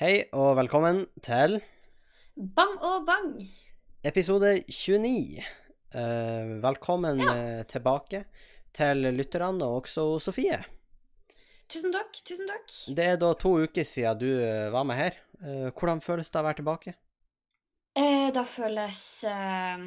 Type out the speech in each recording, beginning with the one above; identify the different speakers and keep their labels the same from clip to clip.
Speaker 1: Hei og velkommen til
Speaker 2: Bang og bang!
Speaker 1: episode 29. Eh, velkommen
Speaker 2: Ja.
Speaker 1: eh, tilbake til lytterne og også Sofie.
Speaker 2: Tusen takk, tusen takk.
Speaker 1: Det er da to uker siden du eh, var med her. Eh, hvordan føles det å være tilbake?
Speaker 2: Eh, da føles eh,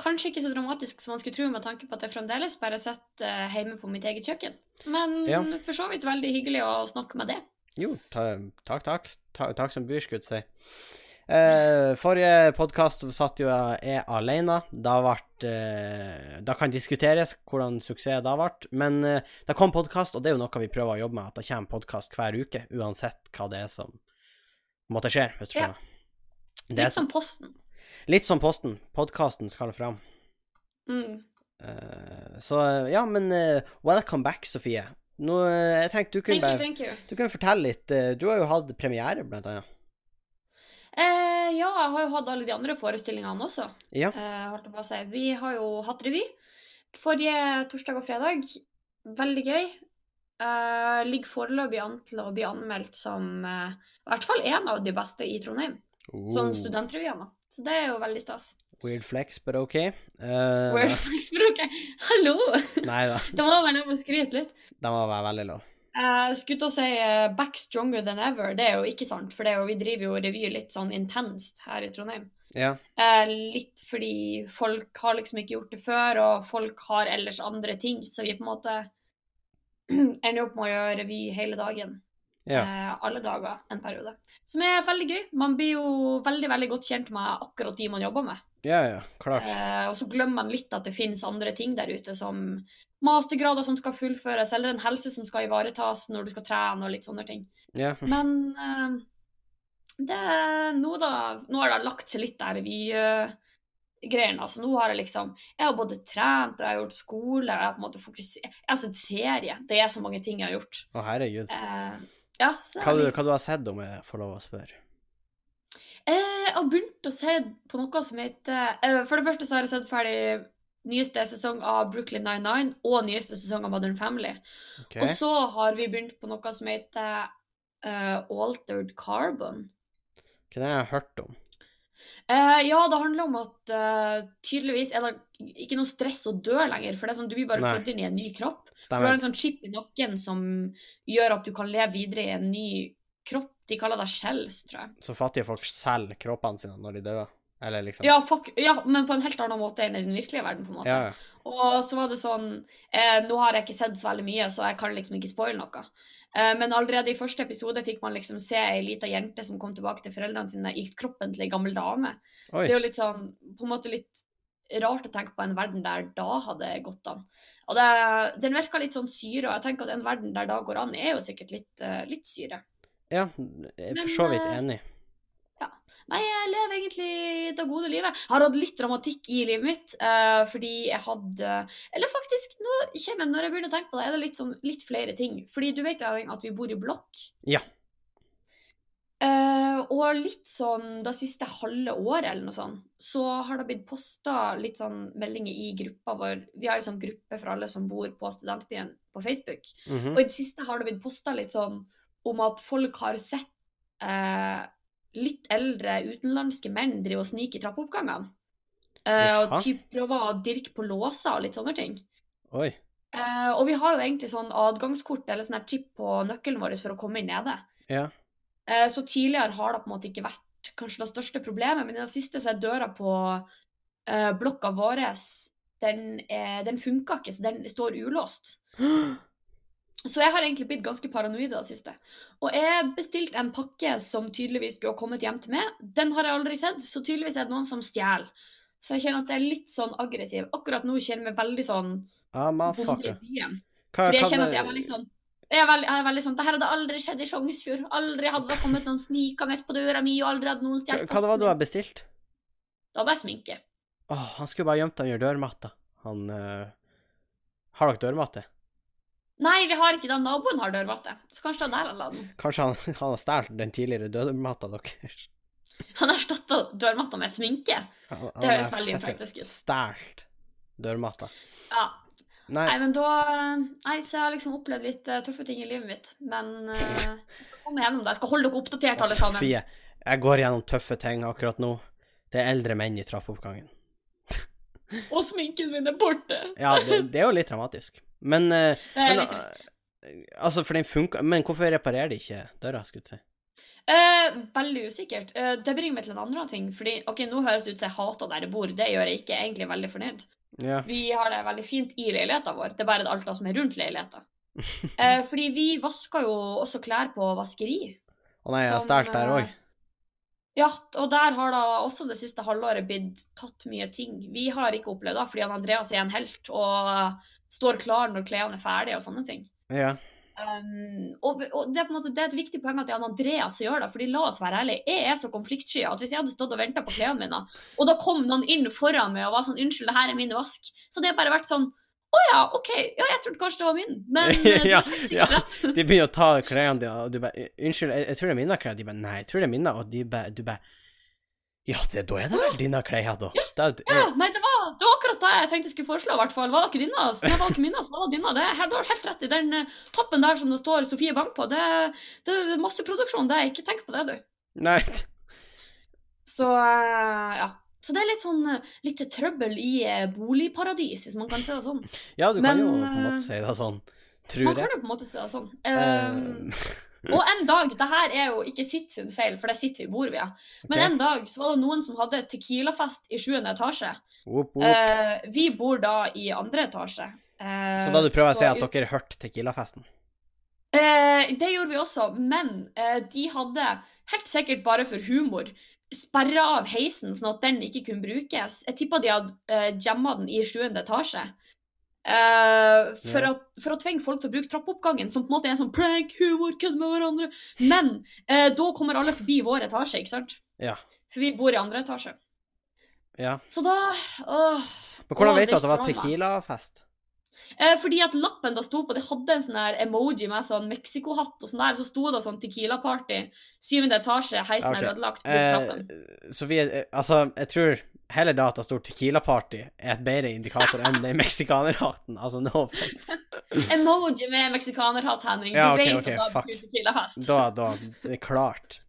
Speaker 2: kanskje ikke så dramatisk som man skulle tro, med tanke på at jeg fremdeles bare sitter eh, hjemme på mitt eget kjøkken. Men
Speaker 1: Ja.
Speaker 2: for så vidt veldig hyggelig å snakke med det.
Speaker 1: Jo, ta, takk, takk. Ta, takk som byrskudd, sier. Eh, forrige podkast satt jo jeg alene. Da ble eh, Det kan diskuteres hvordan suksess det ble, men eh, det kom podkast, og det er jo noe vi prøver å jobbe med, at det kommer podkast hver uke, uansett hva det er som måtte skje, hvis du
Speaker 2: Ja.
Speaker 1: skjønner. Det er,
Speaker 2: Litt sånn. som posten.
Speaker 1: litt som Posten. Podkasten skal fram.
Speaker 2: Mm.
Speaker 1: Eh, så ja, men eh, welcome back, Sofie. Nå, eh, jeg tenkte du kunne,
Speaker 2: Thank
Speaker 1: bare,
Speaker 2: you, thank you.
Speaker 1: du kunne fortelle litt. eh, du har jo hatt premiere, blant annet.
Speaker 2: Eh, ja, jeg har jo hatt alle de andre forestillingene også.
Speaker 1: Ja.
Speaker 2: Eh, holdt jeg på å si. Vi har jo hatt revy forrige torsdag og fredag. Veldig gøy. Eh, ligger foreløpig an til å bli anmeldt som eh, i hvert fall en av de beste i Trondheim. Som
Speaker 1: Oh.
Speaker 2: studentrevyer. Så det er jo veldig stas.
Speaker 1: Weird flex, but ok. Eh,
Speaker 2: Word thanks, for dere. Hallo!
Speaker 1: Nei da,
Speaker 2: Det må være lov å skryte litt.
Speaker 1: den var bare veldig lov.
Speaker 2: Eh, skulle til å si eh, 'back stronger than ever', det er jo ikke sant. For det er jo, vi driver jo revy litt sånn intenst her i Trondheim.
Speaker 1: Ja.
Speaker 2: Eh, litt fordi folk har liksom ikke gjort det før, og folk har ellers andre ting. Så vi på en måte ender opp med å gjøre revy hele dagen.
Speaker 1: Ja.
Speaker 2: Eh, alle dager en periode. Som er veldig gøy. Man blir jo veldig veldig godt kjent med akkurat de man jobber med.
Speaker 1: ja, ja, klart.
Speaker 2: Eh, og så glemmer man litt at det finnes andre ting der ute, som mastergrader som skal fullføres, eller en helse som skal ivaretas når du skal trene, og litt sånne ting.
Speaker 1: Ja.
Speaker 2: Men eh, det nå, da, nå har det lagt seg litt der vi uh, greiene. Altså, nå har jeg liksom Jeg har både trent, og jeg har gjort skole, og jeg har på en måte fokusert Jeg har sett serie. Det er så mange ting jeg har gjort.
Speaker 1: Å, herregud.
Speaker 2: Eh, ja, så
Speaker 1: Hva,
Speaker 2: jeg
Speaker 1: du,
Speaker 2: liker-
Speaker 1: hva du har sett, om jeg får lov å spørre?
Speaker 2: Eh, jeg har begynt å se på noe som heter eh, For det første så har jeg sett ferdig nyeste sesong av Brooklyn Nine-Nine og nyeste sesong av Modern Family.
Speaker 1: Ok.
Speaker 2: Og så har vi begynt på noe som heter eh, Altered Carbon.
Speaker 1: Hva det har jeg hørt om?
Speaker 2: Eh, ja, det handler om at eh, tydeligvis er det ikke noe stress å dø lenger. For det er sånn, du blir bare
Speaker 1: Nei.
Speaker 2: født inn i en ny kropp. For du har
Speaker 1: Stemmer.
Speaker 2: en sånn chip i nakken som gjør at du kan leve videre i en ny kropp. De kaller det shells, tror jeg.
Speaker 1: Så fattige folk selger kroppene sine når de dør? Eller liksom
Speaker 2: Ja, fuck, ja, men på en helt annen måte enn i den virkelige verden, på en måte.
Speaker 1: ja. ja.
Speaker 2: Og så var det sånn eh, Nå har jeg ikke sett så veldig mye, så jeg kan liksom ikke spoile noe. Eh, men allerede i første episode fikk man liksom se ei lita jente som kom tilbake til foreldrene sine i kroppen til ei gammel dame. Så
Speaker 1: Oi.
Speaker 2: det er jo litt sånn På en måte litt rart å tenke på en verden der da hadde gått an. Og det, den virka litt sånn syre, og jeg tenker at en verden der da går an, er jo sikkert litt, eh, litt syre.
Speaker 1: Ja, jeg er for
Speaker 2: Men,
Speaker 1: så vidt
Speaker 2: eh,
Speaker 1: enig.
Speaker 2: Nei, jeg lever egentlig det gode livet. Jeg har hatt litt dramatikk i livet mitt, eh, fordi jeg hadde Eller faktisk, nå kommer jeg, når jeg begynner å tenke på det, er det litt, sånn, litt flere ting. Fordi du vet jo Erling, at vi bor i blokk.
Speaker 1: Ja.
Speaker 2: Eh, og litt sånn det siste halve året eller noe sånt, så har det blitt posta litt sånn meldinger i gruppa vår. Vi har liksom gruppe for alle som bor på studentbyen på Facebook.
Speaker 1: Mhm.
Speaker 2: Og i det siste har det blitt posta litt sånn om at folk har sett eh, litt eldre utenlandske menn drive og snike i trappeoppgangene. Eh, og
Speaker 1: Jaha.
Speaker 2: typ prøve å dirke på låser og litt sånne ting.
Speaker 1: Oi.
Speaker 2: Eh, og vi har jo egentlig sånn adgangskort eller sånn her chip på nøkkelen vår for å komme inn nede.
Speaker 1: Ja.
Speaker 2: Eh, så tidligere har det på en måte ikke vært kanskje det største problemet, men i det siste så er døra på eh, blokka vår den, er- den funka ikke, så den står ulåst. Så jeg har egentlig blitt ganske paranoid i det siste. Og jeg bestilte en pakke som tydeligvis skulle ha kommet hjem til meg. Den har jeg aldri sett, så tydeligvis er det noen som stjeler. Så jeg kjenner at jeg er litt sånn aggressiv. Akkurat nå kjenner jeg meg veldig sånn
Speaker 1: Ah,
Speaker 2: bonde i
Speaker 1: motherfucker.
Speaker 2: byen.
Speaker 1: Hva,
Speaker 2: Fordi jeg
Speaker 1: hva
Speaker 2: kjenner
Speaker 1: det-
Speaker 2: at jeg er veldig sånn jeg er veldig, jeg er veldig sånn, Det her hadde aldri skjedd i Sognsfjord. Aldri hadde det kommet noen snikende på døra mi, og aldri hadde noen
Speaker 1: hva,
Speaker 2: stjålet
Speaker 1: hva det var du
Speaker 2: min.
Speaker 1: har bestilt?
Speaker 2: Det var bare sminke.
Speaker 1: Åh, han skulle bare gjemt det under dørmatta. Han eh, Har dere dørmatte?
Speaker 2: Nei, vi har ikke det. Naboen har dørmatte. Så kanskje det var der han la den.
Speaker 1: Kanskje han, han har stjålet den tidligere dørmatta deres?
Speaker 2: Han erstatta dørmatta med sminke.
Speaker 1: Han,
Speaker 2: Det høres veldig upraktisk ut.
Speaker 1: Stjålet dørmatta.
Speaker 2: Ja,
Speaker 1: Nei,
Speaker 2: Nei, men da Nei, så jeg har liksom opplevd litt eh, tøffe ting i livet mitt. Men eh, jeg skal komme komme gjennom det. Jeg skal holde dere oppdatert, alle sammen.
Speaker 1: Sofie, jeg går gjennom tøffe ting akkurat nå. Det er eldre menn i trappeoppgangen.
Speaker 2: Og sminken min er borte.
Speaker 1: Ja, det, det er jo litt dramatisk. Men, eh,
Speaker 2: Det er
Speaker 1: men
Speaker 2: litt trist.
Speaker 1: eh, Altså, for den funka Men hvorfor reparerer de ikke døra, skulle jeg si?
Speaker 2: Eh, veldig usikkert. Eh, det bringer meg til en annen ting. Fordi, ok, Nå høres det ut som jeg hater der jeg bor. Det gjør jeg ikke. Jeg er egentlig veldig fornøyd.
Speaker 1: Ja.
Speaker 2: Vi har det veldig fint i leiligheten vår. Det er bare alt det som er rundt leiligheten. Eh, fordi vi vasker jo også klær på vaskeri.
Speaker 1: Å nei, jeg har
Speaker 2: Som,
Speaker 1: stjålet der
Speaker 2: eh,
Speaker 1: òg.
Speaker 2: Ja, og der har da også det siste halvåret blitt tatt mye ting. Vi har ikke opplevd det, fordi han Andreas er en helt og eh, står klar når klærne er ferdige og sånne ting.
Speaker 1: Ja.
Speaker 2: Um, og, og det er på en måte det er et viktig poeng at det er han Andreas som gjør det, fordi la oss være ærlige, jeg er så konfliktsky at hvis jeg hadde stått og venta på klærne mine, og da kom noen inn foran meg og var sånn 'unnskyld, det her er min vask', så hadde jeg bare vært sånn 'å ja, OK, ja, jeg trodde kanskje det var min', men eh, du
Speaker 1: Ja,
Speaker 2: har sikkert
Speaker 1: ja.
Speaker 2: rett.
Speaker 1: De begynner å ta klærne dine, og du bare eh, 'Unnskyld, jeg, jeg tror det er mine klær.' De bare 'Nei, jeg tror det er mine', og de bare Du bare Ja, det, da er det vel dine klær, da. da
Speaker 2: Ja, nei, det var, det var akkurat det jeg tenkte jeg skulle foreslå, i hvert fall. Var det ikke dine? Så det var ikke mine, så var det dine. Det, her, du har helt rett i den eh, toppen der som det står Sofie Bank på. Det, det, er masse produksjon, det. Ikke tenk på det, du.
Speaker 1: Nei.
Speaker 2: Så eh, ja. Så det er litt sånn eh, litt trøbbel i eh, boligparadis, hvis man kan si det sånn.
Speaker 1: Ja, du kan
Speaker 2: Men,
Speaker 1: jo på en
Speaker 2: eh,
Speaker 1: måte si det sånn.
Speaker 2: Man
Speaker 1: Tror
Speaker 2: kan
Speaker 1: jeg.
Speaker 2: jo på en måte si det sånn.
Speaker 1: Eh,
Speaker 2: Um, og en dag, det her er jo ikke sitt sin feil, for det sitter vi bor ved, men
Speaker 1: Ok.
Speaker 2: en dag så var det noen som hadde tequilafest i sjuende etasje.
Speaker 1: whoop, whoop.
Speaker 2: Eh, vi bor da i andre etasje. Eh,
Speaker 1: Så da du prøver å si
Speaker 2: så
Speaker 1: at dere hørte Tequila-festen?
Speaker 2: Eh, det gjorde vi også, men eh, de hadde, helt sikkert bare for humor, sperra av heisen sånn at den ikke kunne brukes. Jeg tippa de hadde eh, jamma den i sjuende etasje. Eh, for,
Speaker 1: Ja.
Speaker 2: å, for å tvinge folk til å bruke trappeoppgangen, som på en måte er en sånn prank, humor, kødd med hverandre. Men eh, da kommer alle forbi vår etasje, ikke sant?
Speaker 1: Ja.
Speaker 2: For vi bor i andre etasje.
Speaker 1: Ja.
Speaker 2: Så da åh,
Speaker 1: Men hvordan
Speaker 2: Å,
Speaker 1: vet du at det var
Speaker 2: restaurant, da.
Speaker 1: Tequila-fest?
Speaker 2: Eh, fordi at lappen da sto på, det hadde en sånn her emoji med sånn Mexico-hatt og sånn der, så sto det sånn Tequila-party, syvende etasje, heisen
Speaker 1: Ok.
Speaker 2: er ødelagt, bruk
Speaker 1: Eh,
Speaker 2: trappen.
Speaker 1: Sofie, eh, altså, jeg tror heller da at det står Tequila-party er et bedre indikator enn den meksikanerhatten. Altså, no offense.
Speaker 2: Emoji med meksikanerhatt, Henning. Du
Speaker 1: Ja, ok,
Speaker 2: vet
Speaker 1: ok,
Speaker 2: at da
Speaker 1: fuck.
Speaker 2: betyr Tequila-fest.
Speaker 1: Da, da, det er klart.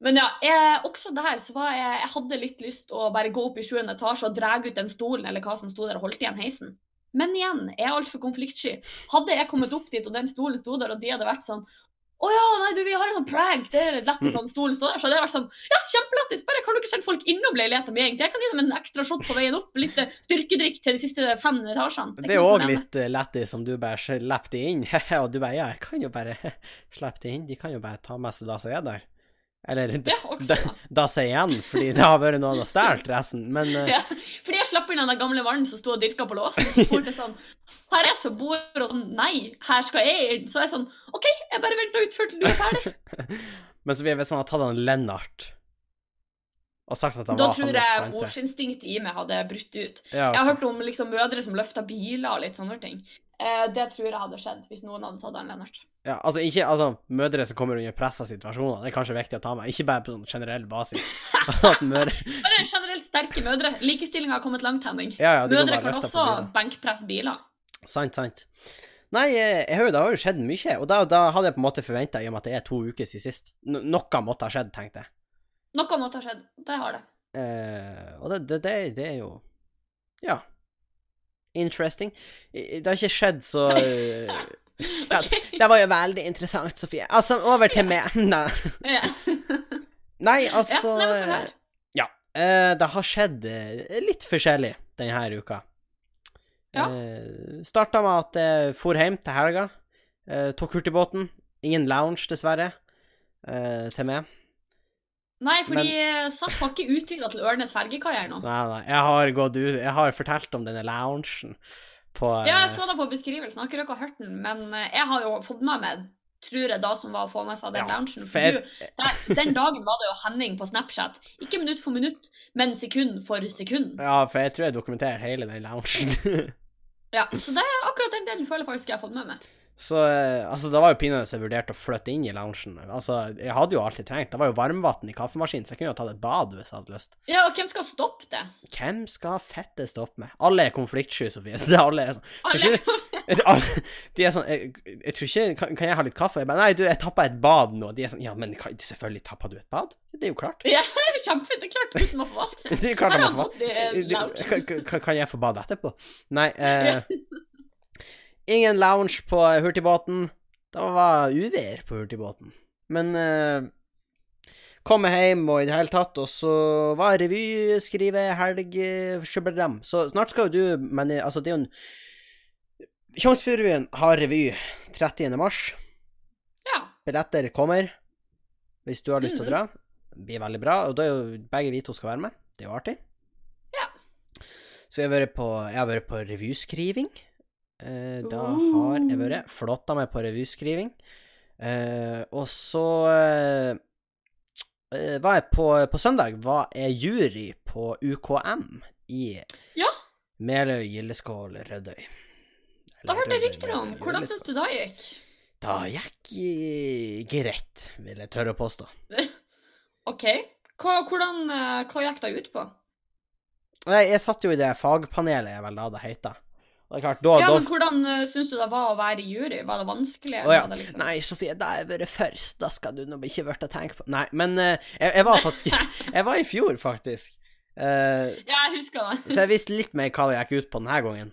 Speaker 2: Men ja, jeg, også der så var jeg Jeg hadde litt lyst å bare gå opp i sjuende etasje og dra ut den stolen eller hva som sto der, og holdt igjen heisen. Men igjen, jeg er altfor konfliktsky. Hadde jeg kommet opp dit, og den stolen sto der, og de hadde vært sånn å ja, nei, du, vi har en sånn prank. Det er litt
Speaker 1: Mm.
Speaker 2: lættis sånn stolen står der. Så hadde jeg vært sånn Ja, kjempelættis. Bare kan du ikke sende folk innom leiligheten min, egentlig? Jeg kan gi dem en ekstra shot på veien opp. Litt eh, styrkedrikk til de siste fem etasjene.
Speaker 1: Det er
Speaker 2: ikke noe
Speaker 1: òg
Speaker 2: problem.
Speaker 1: litt eh, lættis om du bare slipper det inn, og du bare Ja, jeg kan jo bare slippe det inn. De kan jo bare ta med seg det som er der. Eller
Speaker 2: Ja,
Speaker 1: da-
Speaker 2: også.
Speaker 1: da som er igjen, fordi det har vært noen som har stjålet resten. Men eh,
Speaker 2: Ja, fordi jeg slapp inn den der gamle mannen som sto og dyrka på låsen. Så spurte jeg sånn Her er jeg som bor, og sånn Nei, her skal jeg inn. Så jeg sånn OK, jeg bare venter ut før til du er ferdig.
Speaker 1: eh, Men så blir det hvis han hadde tatt han Lennart og sagt at han
Speaker 2: Da
Speaker 1: var
Speaker 2: tror
Speaker 1: hans
Speaker 2: jeg
Speaker 1: plante.
Speaker 2: morsinstinktet i meg hadde brutt ut.
Speaker 1: Ja,
Speaker 2: Jeg har hørt om liksom mødre som løfta biler og litt sånne ting. Eh, det tror jeg hadde skjedd hvis noen hadde tatt den Lennart.
Speaker 1: ja, altså, ikke, altså, mødre som kommer under pressa situasjoner, det er kanskje viktig å ta med. Ikke bare på sånn generell basis. At mødre,
Speaker 2: Bare generelt sterke mødre. Likestillinga har kommet langt, Henning.
Speaker 1: ja, ja, du kan
Speaker 2: Mødre
Speaker 1: bare
Speaker 2: kan
Speaker 1: løfte på
Speaker 2: også
Speaker 1: bilen.
Speaker 2: benkpresse biler.
Speaker 1: Sant, sant. Nei, eh, jeg hører, det har jo skjedd mye, og da, da hadde jeg på en måte forventa, i og med at det er to uker siden sist, no noe måtte ha skjedd, tenkte jeg.
Speaker 2: Noe måtte ha skjedd. Det har det.
Speaker 1: Eh, og det, det, det, det er jo Ja. Interesting. I- Det har ikke skjedd så Ja,
Speaker 2: Ok.
Speaker 1: Det var jo veldig interessant, Sofie. Altså, over til meg. Nei.
Speaker 2: Ja.
Speaker 1: Nei,
Speaker 2: Ja,
Speaker 1: altså
Speaker 2: nei, men få høre.
Speaker 1: eh, Det har skjedd eh, litt forskjellig denne uka.
Speaker 2: Ja.
Speaker 1: Eh, Starta med at jeg for hjem til helga. Eh, tok hurtigbåten. Ingen lounge, dessverre, eh, til meg.
Speaker 2: Nei, fordi SAS har ikke utvida til Ørnes fergekai her nå.
Speaker 1: Nei, nei, jeg har gått ut Jeg har fortalt om denne loungen på eh,
Speaker 2: Ja, jeg så det på beskrivelsen, jeg har ikke rukket å hørt den, men eh, jeg har jo fått med meg, tror jeg, da som var å få med seg den
Speaker 1: Ja,
Speaker 2: loungen.
Speaker 1: for
Speaker 2: For
Speaker 1: jeg-
Speaker 2: du, nei, den dagen var det jo Henning på Snapchat. Ikke minutt for minutt, men sekund for sekund.
Speaker 1: Ja, for jeg tror jeg dokumenterer hele den loungen.
Speaker 2: Ja, Så det er akkurat den delen føler jeg faktisk jeg har fått med meg.
Speaker 1: Så eh, altså, det var jo pinadø så jeg vurderte å flytte inn i loungen. Altså, jeg hadde jo alltid trengt Det var jo varmvann i kaffemaskinen, så jeg kunne jo tatt et bad hvis jeg hadde lyst.
Speaker 2: Ja, og hvem skal stoppe det?
Speaker 1: Hvem skal fette stoppe med? Alle er konfliktsky, Sofie. Så det er alle er sånn
Speaker 2: Alle,
Speaker 1: Et- alle- De er sånn jeg, jeg tror ikke kan, kan jeg ha litt kaffe? Jeg bare Nei, du, jeg tappa et bad nå. De er sånn Ja, men kan- selvfølgelig tappa du et bad. Det er jo klart.
Speaker 2: det er kjempefint. Det er klart gutten må få vaske seg.
Speaker 1: Det er jo klart jeg må få
Speaker 2: Har han bodd i eh, en
Speaker 1: Du,
Speaker 2: lounge?
Speaker 1: kan- kan, kan jeg få bade etterpå? Nei. Eh, ingen lounge på hurtigbåten. Det var uvær på hurtigbåten. Men eh, kom jeg hjem og i det hele tatt, og så var revyskrivehelg, eh, sjubbeldem. Så snart skal jo du Men eh, altså, det er jo en Tjongsfjordrevyen har revy 30. mars.
Speaker 2: Ja.
Speaker 1: Billetter kommer hvis du har lyst til å
Speaker 2: Mhm.
Speaker 1: dra. Det blir veldig bra. Og da er jo begge vi to skal være med. Det er jo artig.
Speaker 2: Ja.
Speaker 1: Så jeg har vært på, jeg har vært på revyskriving. Eh, da
Speaker 2: Oh.
Speaker 1: har jeg vært flotta meg på revyskriving. Eh, og så eh, eh, var jeg på, på søndag var jeg jury på UKM i
Speaker 2: Ja.
Speaker 1: Meløy, Gildeskål, Rødøy.
Speaker 2: Da hørte jeg
Speaker 1: Rødøy,
Speaker 2: rykter om.
Speaker 1: Meløy,
Speaker 2: Hvordan
Speaker 1: Gildeskål.
Speaker 2: syns du det gikk?
Speaker 1: Da gikk eh, greit, vil jeg tørre å påstå.
Speaker 2: OK. Hva, hvordan, eh, hva gikk det ut på?
Speaker 1: Nei, jeg satt jo i det fagpanelet jeg vel da det heter. Og det er klart, da,
Speaker 2: Ja,
Speaker 1: da
Speaker 2: men hvordan uh, syns du det var å være i jury? Var det vanskelig?
Speaker 1: Å ja.
Speaker 2: Var det liksom-
Speaker 1: Nei, Sofie, da har jeg vært først. Da skal du nå ikke vært å tenke på Nei, men eh, jeg, jeg var faktisk Jeg var i fjor, faktisk. Eh,
Speaker 2: Ja, jeg husker det.
Speaker 1: så jeg visste litt mer hva det gikk ut på denne gangen.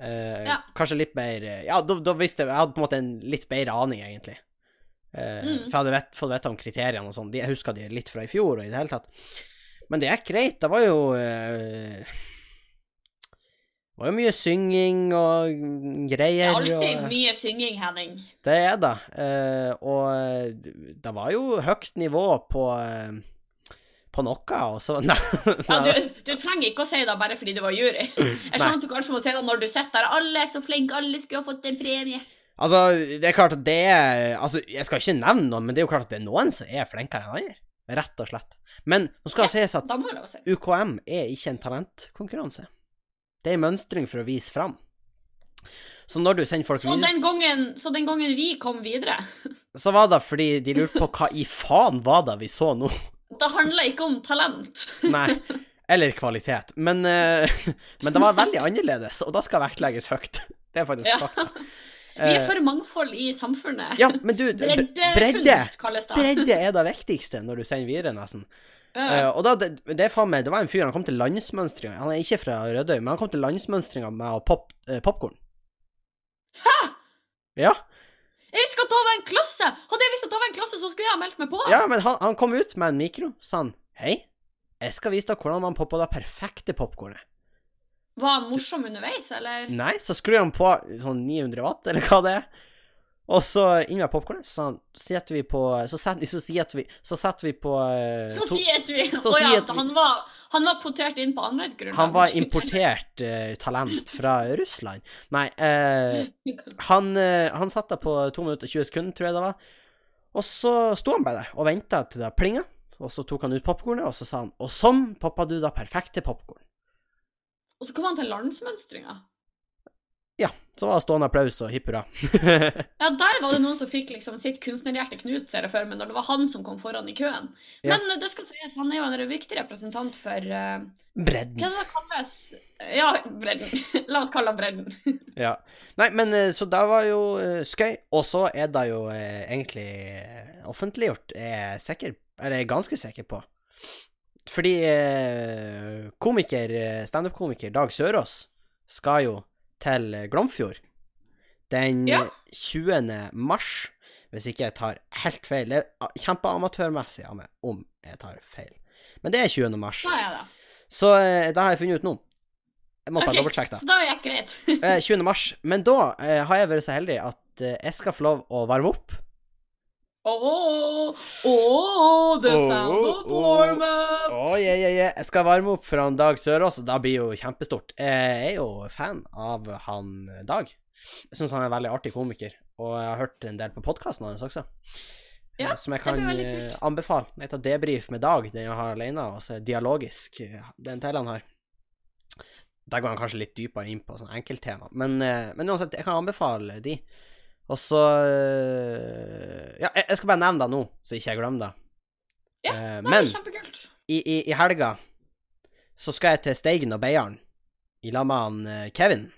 Speaker 1: Eh,
Speaker 2: Ja.
Speaker 1: Kanskje litt mer eh, Ja, da, da visste jeg Jeg hadde på en måte en litt bedre aning, egentlig. Eh,
Speaker 2: Mm.
Speaker 1: For jeg hadde vet, fått vite om kriteriene og sånn. De- Jeg husker de litt fra i fjor og i det hele tatt. Men det gikk greit. Det var jo eh, Det var jo mye synging og mm,
Speaker 2: Det
Speaker 1: greier.
Speaker 2: er alltid
Speaker 1: og,
Speaker 2: mye synging, Henning.
Speaker 1: det er det. Eh, og eh, det var jo høyt nivå på eh, På noe, og så Nei.
Speaker 2: Ja, du, du trenger ikke å si det bare fordi du var jury. Jeg skjønner at du kanskje må si det når du sitter der. Alle er så flinke, alle skulle ha fått en premie.
Speaker 1: Altså, det er klart at det er Altså, jeg skal ikke nevne noen, men det er jo klart at det er noen som er flinkere enn andre. Rett og slett. Men nå skal det sies at
Speaker 2: Da må jeg lov å si.
Speaker 1: UKM er ikke en talentkonkurranse. Det er en mønstring for å vise fram. Så når du sender folk
Speaker 2: Så
Speaker 1: videre,
Speaker 2: den, gangen, så den gangen vi kom videre
Speaker 1: så var det fordi de lurte på hva i faen var det vi så nå?
Speaker 2: Det handla ikke om talent.
Speaker 1: Nei. Eller kvalitet. Men, eh, men det var veldig annerledes, og da skal vektlegges høyt. Det er faktisk
Speaker 2: Ja.
Speaker 1: fakta.
Speaker 2: Vi er
Speaker 1: Eh,
Speaker 2: for mangfold i samfunnet.
Speaker 1: ja, men du, bredde, bredde,
Speaker 2: Breddekunst kalles det.
Speaker 1: bredde er det viktigste når du sender videre, nesten. Eh,
Speaker 2: Ja.
Speaker 1: og da, det, det, er faen meg, det var en fyr, han kom til landsmønstringa. Han er ikke fra Rødøy, men han kom til landsmønstringa med å pop, eh, popkorn. Ja,
Speaker 2: Jeg husker at da var en klasse! Hadde jeg visst at da var en klasse, så skulle jeg ha meldt meg på.
Speaker 1: ja, men han, han kom ut med en mikro, sa han. Hei, jeg skal vise deg hvordan man popper det perfekte popkornet.
Speaker 2: Var han morsom underveis, eller?
Speaker 1: Nei, så skrur han på sånn 900 watt, eller hva det er. Og så inn med popkornet, så han- setter vi på Så setter, så setter vi Så setter vi på eh,
Speaker 2: Så
Speaker 1: to-
Speaker 2: sier vi Å
Speaker 1: så
Speaker 2: ja,
Speaker 1: sier at vi-
Speaker 2: han var, han var potert inn på annet grunnlag.
Speaker 1: Han var importert eh, talent fra Russland. Nei, eh, han, eh, han satt der på 2 minutter og 20 sekunder, tror jeg det var. Og så sto han bare der og venta til det plinga, og så tok han ut popkornet, og så sa han Og sånn poppa du da perfekte popkorn.
Speaker 2: Og så kom han til landsmønstringa.
Speaker 1: Så var det stående applaus og hipp hurra.
Speaker 2: Ja, der var det noen som fikk liksom sitt kunstnerhjerte knust, ser jeg for meg, når det var han som kom foran i køen.
Speaker 1: Ja.
Speaker 2: Men eh, det skal sies, han er jo en viktig representant for eh, Hva
Speaker 1: Bredden.
Speaker 2: er det det kalles? Ja, bredden. La oss kalle det bredden.
Speaker 1: Ja. Nei, men eh, så det var jo eh, skøy. Og så er det jo eh, egentlig eh, offentliggjort, er jeg sikker Eller jeg er ganske sikker på. Fordi eh, komiker, eh, standup-komiker Dag Sørås skal jo til eh, Glomfjord den
Speaker 2: Ja.
Speaker 1: eh, 20. mars, hvis ikke jeg tar helt feil. Det er ah, Kjempeamatørmessig av meg om jeg tar feil. Men det er 20. mars,
Speaker 2: Da er det.
Speaker 1: så eh, det har jeg funnet ut nå. Jeg må bare
Speaker 2: Ok,
Speaker 1: dobbeltsjekke det.
Speaker 2: Så da gikk greit.
Speaker 1: Eh, 20. mars. Men da eh, har jeg vært så heldig at eh, jeg skal få lov å varme opp.
Speaker 2: Oh, oh, the
Speaker 1: Åh,
Speaker 2: sound of
Speaker 1: åh.
Speaker 2: warm up.
Speaker 1: Oh, yeah, yeah, yeah. Jeg skal varme opp for han Dag Sørås, og det blir jo kjempestort. Jeg er jo fan av han Dag. Jeg syns han er en veldig artig komiker, og jeg har hørt en del på podkasten hans også.
Speaker 2: Ja,
Speaker 1: Eh, som jeg
Speaker 2: det
Speaker 1: kan
Speaker 2: blir veldig
Speaker 1: eh,
Speaker 2: kult.
Speaker 1: anbefale. Den heter Debrif med Dag, den jeg har alene, og så er dialogisk, eh, den til han har. Der går han kanskje litt dypere inn på sånne enkelttema, men, eh, men uansett, jeg kan anbefale de. Og så eh, Ja, jeg jeg skal bare nevne det nå, så ikke jeg glemmer det.
Speaker 2: Ja,
Speaker 1: Eh,
Speaker 2: Nei,
Speaker 1: men
Speaker 2: kjempekult.
Speaker 1: i, i, i helga så skal jeg til Steigen og Beiarn i lag med han eh, Kevin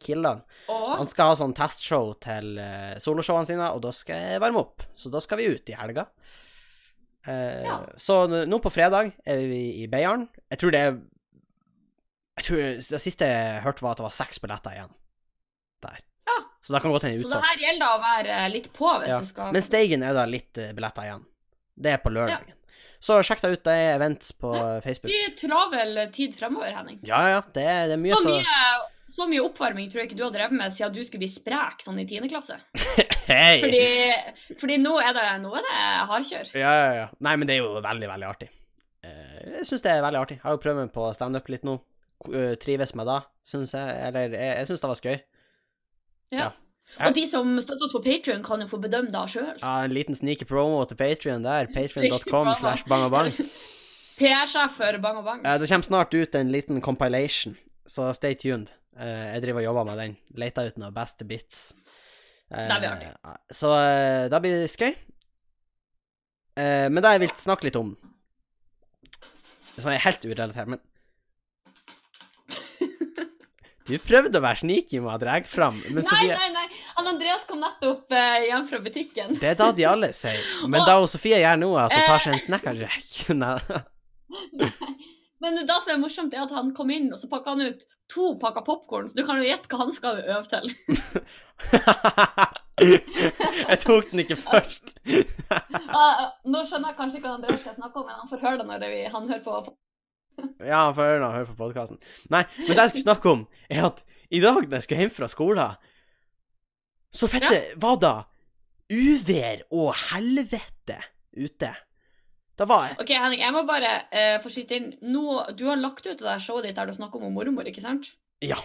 Speaker 1: Kildahl.
Speaker 2: Og
Speaker 1: Han skal ha sånn testshow til eh, soloshowene sine, og da skal jeg varme opp. Så da skal vi ut i helga. Eh,
Speaker 2: Ja.
Speaker 1: Så n- nå på fredag er vi i Beiarn. Jeg tror det er Jeg tror Det siste jeg hørte, var at det var seks billetter igjen der.
Speaker 2: Ja.
Speaker 1: Så da kan godt hende
Speaker 2: Så det
Speaker 1: utsolgt.
Speaker 2: her gjelder da å være eh, litt på
Speaker 1: sånn.
Speaker 2: hvis
Speaker 1: Ja,
Speaker 2: du skal
Speaker 1: Men Steigen er da litt eh, billetter igjen. Det er på lørdagen. Så sjekk deg ut, det er events på eh, Facebook.
Speaker 2: Mye travel tid fremover, Henning.
Speaker 1: Ja, ja, det, er- det er mye
Speaker 2: Så
Speaker 1: så
Speaker 2: mye, så mye oppvarming tror jeg ikke du har drevet med siden du skulle bli sprek sånn i 10. klasse.
Speaker 1: Hei!
Speaker 2: Fordi, fordi nå er det, nå er det hardkjør.
Speaker 1: Ja, ja, ja. Nei, men det er jo veldig, veldig artig. Eh, Jeg syns det er veldig artig. Jeg har jo prøvd meg på standup litt nå. Ko- eh, Trives med det, syns jeg. Eller jeg, jeg syns det var skøy. Ja.
Speaker 2: Ja. Og de som støtter oss på Patrion, kan jo få bedømme det sjøl.
Speaker 1: Ja, en liten sneaky promo til Patrion der.
Speaker 2: Sneaky
Speaker 1: Patrion.com
Speaker 2: promo.
Speaker 1: slash bangabang.
Speaker 2: PR-sjef for Bang og Bang.
Speaker 1: Eh, Det kommer snart ut en liten compilation, så stay tuned. Eh, Jeg driver og jobber med den. Leter ut noen beste bits. Eh,
Speaker 2: Det blir artig.
Speaker 1: Så eh, det blir skøy. Eh, Men det jeg vil snakke litt om Som er helt urelatert, men Du prøvde å være sneaky med å dra fram, men
Speaker 2: Nei,
Speaker 1: Sofie
Speaker 2: nei, nei. Han Andreas kom nettopp eh, hjem fra butikken.
Speaker 1: Det er da de alle sier. Men da Sofie gjør nå, er at hun tar seg en Snacker Jack. Nei.
Speaker 2: Men det som er morsomt, er at han kom inn, og så pakka han ut to pakker popkorn. Så du kan jo gjette hva han skal øve til.
Speaker 1: Jeg tok den ikke først.
Speaker 2: Ah, nå skjønner jeg kanskje ikke hva Andreas skal snakke om, men han får høre det når det, vi- han hører på.
Speaker 1: Ja, han får høre når han hører på podkasten. Nei, men det jeg skulle snakke om, er at i dag når jeg skulle hjem fra skolen, så fette var det uvær og helvete ute. Det var
Speaker 2: Ok, Henning, jeg må bare eh, få skyte inn. Nå, du har lagt ut det der showet ditt der du snakker om mormor, ikke sant?
Speaker 1: Ja.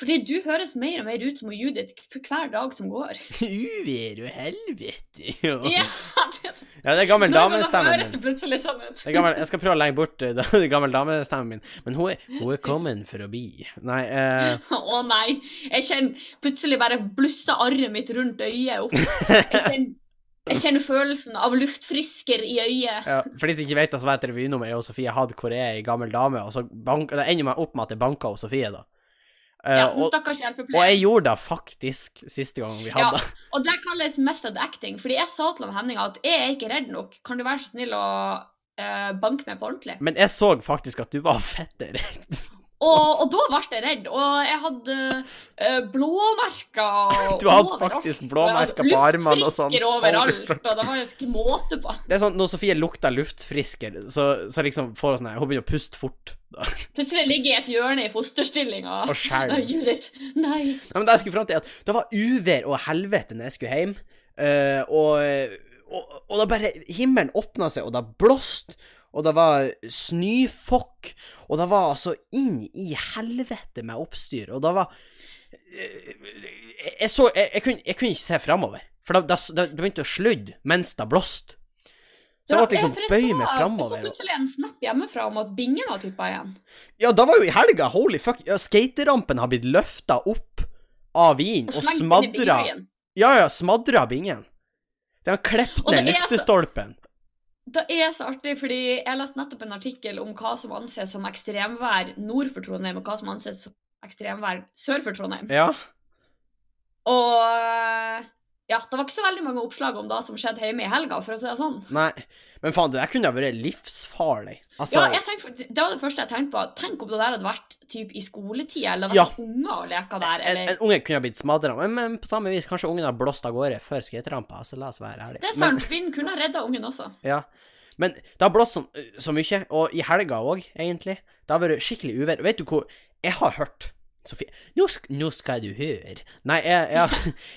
Speaker 2: Fordi du høres mer og mer ut som hun Judith for hver dag som går.
Speaker 1: uvær og helvete og
Speaker 2: Ja, det,
Speaker 1: Ja, det er gammel
Speaker 2: Noen ganger
Speaker 1: damestemmen
Speaker 2: høres
Speaker 1: min.
Speaker 2: det plutselig sånn ut.
Speaker 1: Det er gammel, jeg skal prøve å legge bort eh, den gamle damestemmen min, men hun er, hun er kommet for å bli. Nei, eh,
Speaker 2: Å nei. Jeg kjenner plutselig bare blussa arret mitt rundt øyet opp. Jeg kjenner, jeg kjenner følelsen av luftfrisker i øyet.
Speaker 1: ja, for de som ikke vet det, så var et revynummer jeg og Sofie hadde hvor jeg er ei gammel dame, og så bank, det ender meg opp med at jeg banka hos Sofie, da. Eh,
Speaker 2: Ja, den
Speaker 1: og-
Speaker 2: stakkars
Speaker 1: Og
Speaker 2: hjelpepleier.
Speaker 1: jeg gjorde det faktisk siste gang vi
Speaker 2: Ja,
Speaker 1: hadde
Speaker 2: og det kalles method acting, fordi jeg sa til han Henning at jeg er ikke redd nok, kan du være så snill å eh, banke meg på ordentlig?
Speaker 1: Men jeg så faktisk at du var fette redd.
Speaker 2: Og, og da ble jeg redd, og jeg hadde eh, blåmerker og
Speaker 1: Du hadde
Speaker 2: overalt,
Speaker 1: faktisk
Speaker 2: og jeg
Speaker 1: blåmerker på
Speaker 2: hadde
Speaker 1: armene og sånn.
Speaker 2: Luftfrisker overalt, og det var jo ikke måte på.
Speaker 1: Det er sånn, Når Sofie lukter luftfrisker, så, så liksom får hun sånn her Hun begynner å puste fort da,
Speaker 2: Plutselig ligger jeg i et hjørne i fosterstilling og
Speaker 1: og skjelver.
Speaker 2: Nei, Judith, nei.
Speaker 1: Nei, men det jeg skulle fram til, er at det var uvær og helvete når jeg skulle hjem. eh, og, og, og da bare Himmelen åpna seg, og det blåste, og det var snøfokk, og det var altså inn i helvete med oppstyr, og det var eh, Jeg så Jeg, jeg, kunne, jeg kunne ikke se framover, for det, det, det begynte å sludde mens det blåste. Så jeg måtte
Speaker 2: Ja,
Speaker 1: liksom
Speaker 2: for jeg
Speaker 1: bøye
Speaker 2: så-
Speaker 1: meg
Speaker 2: Jeg
Speaker 1: framover.
Speaker 2: så plutselig en snap hjemmefra om at bingen har tippa igjen.
Speaker 1: Ja, det var jo i helga. Holy fuck. Ja, skaterampen har blitt løfta opp av vinen og
Speaker 2: slengt inn i
Speaker 1: smadra.
Speaker 2: bingen.
Speaker 1: Ja, ja, smadra bingen. De har klept
Speaker 2: Og det
Speaker 1: ned
Speaker 2: er altså- så-
Speaker 1: lyktestolpen.
Speaker 2: Det er så artig, fordi jeg leste nettopp en artikkel om hva som anses som ekstremvær nord for Trondheim, og hva som anses som ekstremvær sør for Trondheim.
Speaker 1: Ja.
Speaker 2: Og ja, det var ikke så veldig mange oppslag om det som skjedde hjemme i helga, for å si det sånn.
Speaker 1: Nei. Men faen, det der kunne ha vært livsfarlig. Altså,
Speaker 2: Ja, jeg tenkte, fakt- det var det første jeg tenkte på. Tenk om det der hadde vært typ, i skoletida, eller det
Speaker 1: Ja.
Speaker 2: hadde vært unger og leka der,
Speaker 1: en,
Speaker 2: eller
Speaker 1: en unge kunne ha blitt smadra, men, men på samme vis, kanskje ungen har blåst av gårde før skaterampa. Altså, la oss være ærlige.
Speaker 2: Det er
Speaker 1: Men,
Speaker 2: sant, vinden kunne ha redda ungen også.
Speaker 1: ja. men det har blåst så, så mye, og i helga òg, egentlig. Det har vært skikkelig uvær. Vet du hvor Jeg har hørt Sofie, nå, sk nå skal du høre. Nei, jeg, jeg,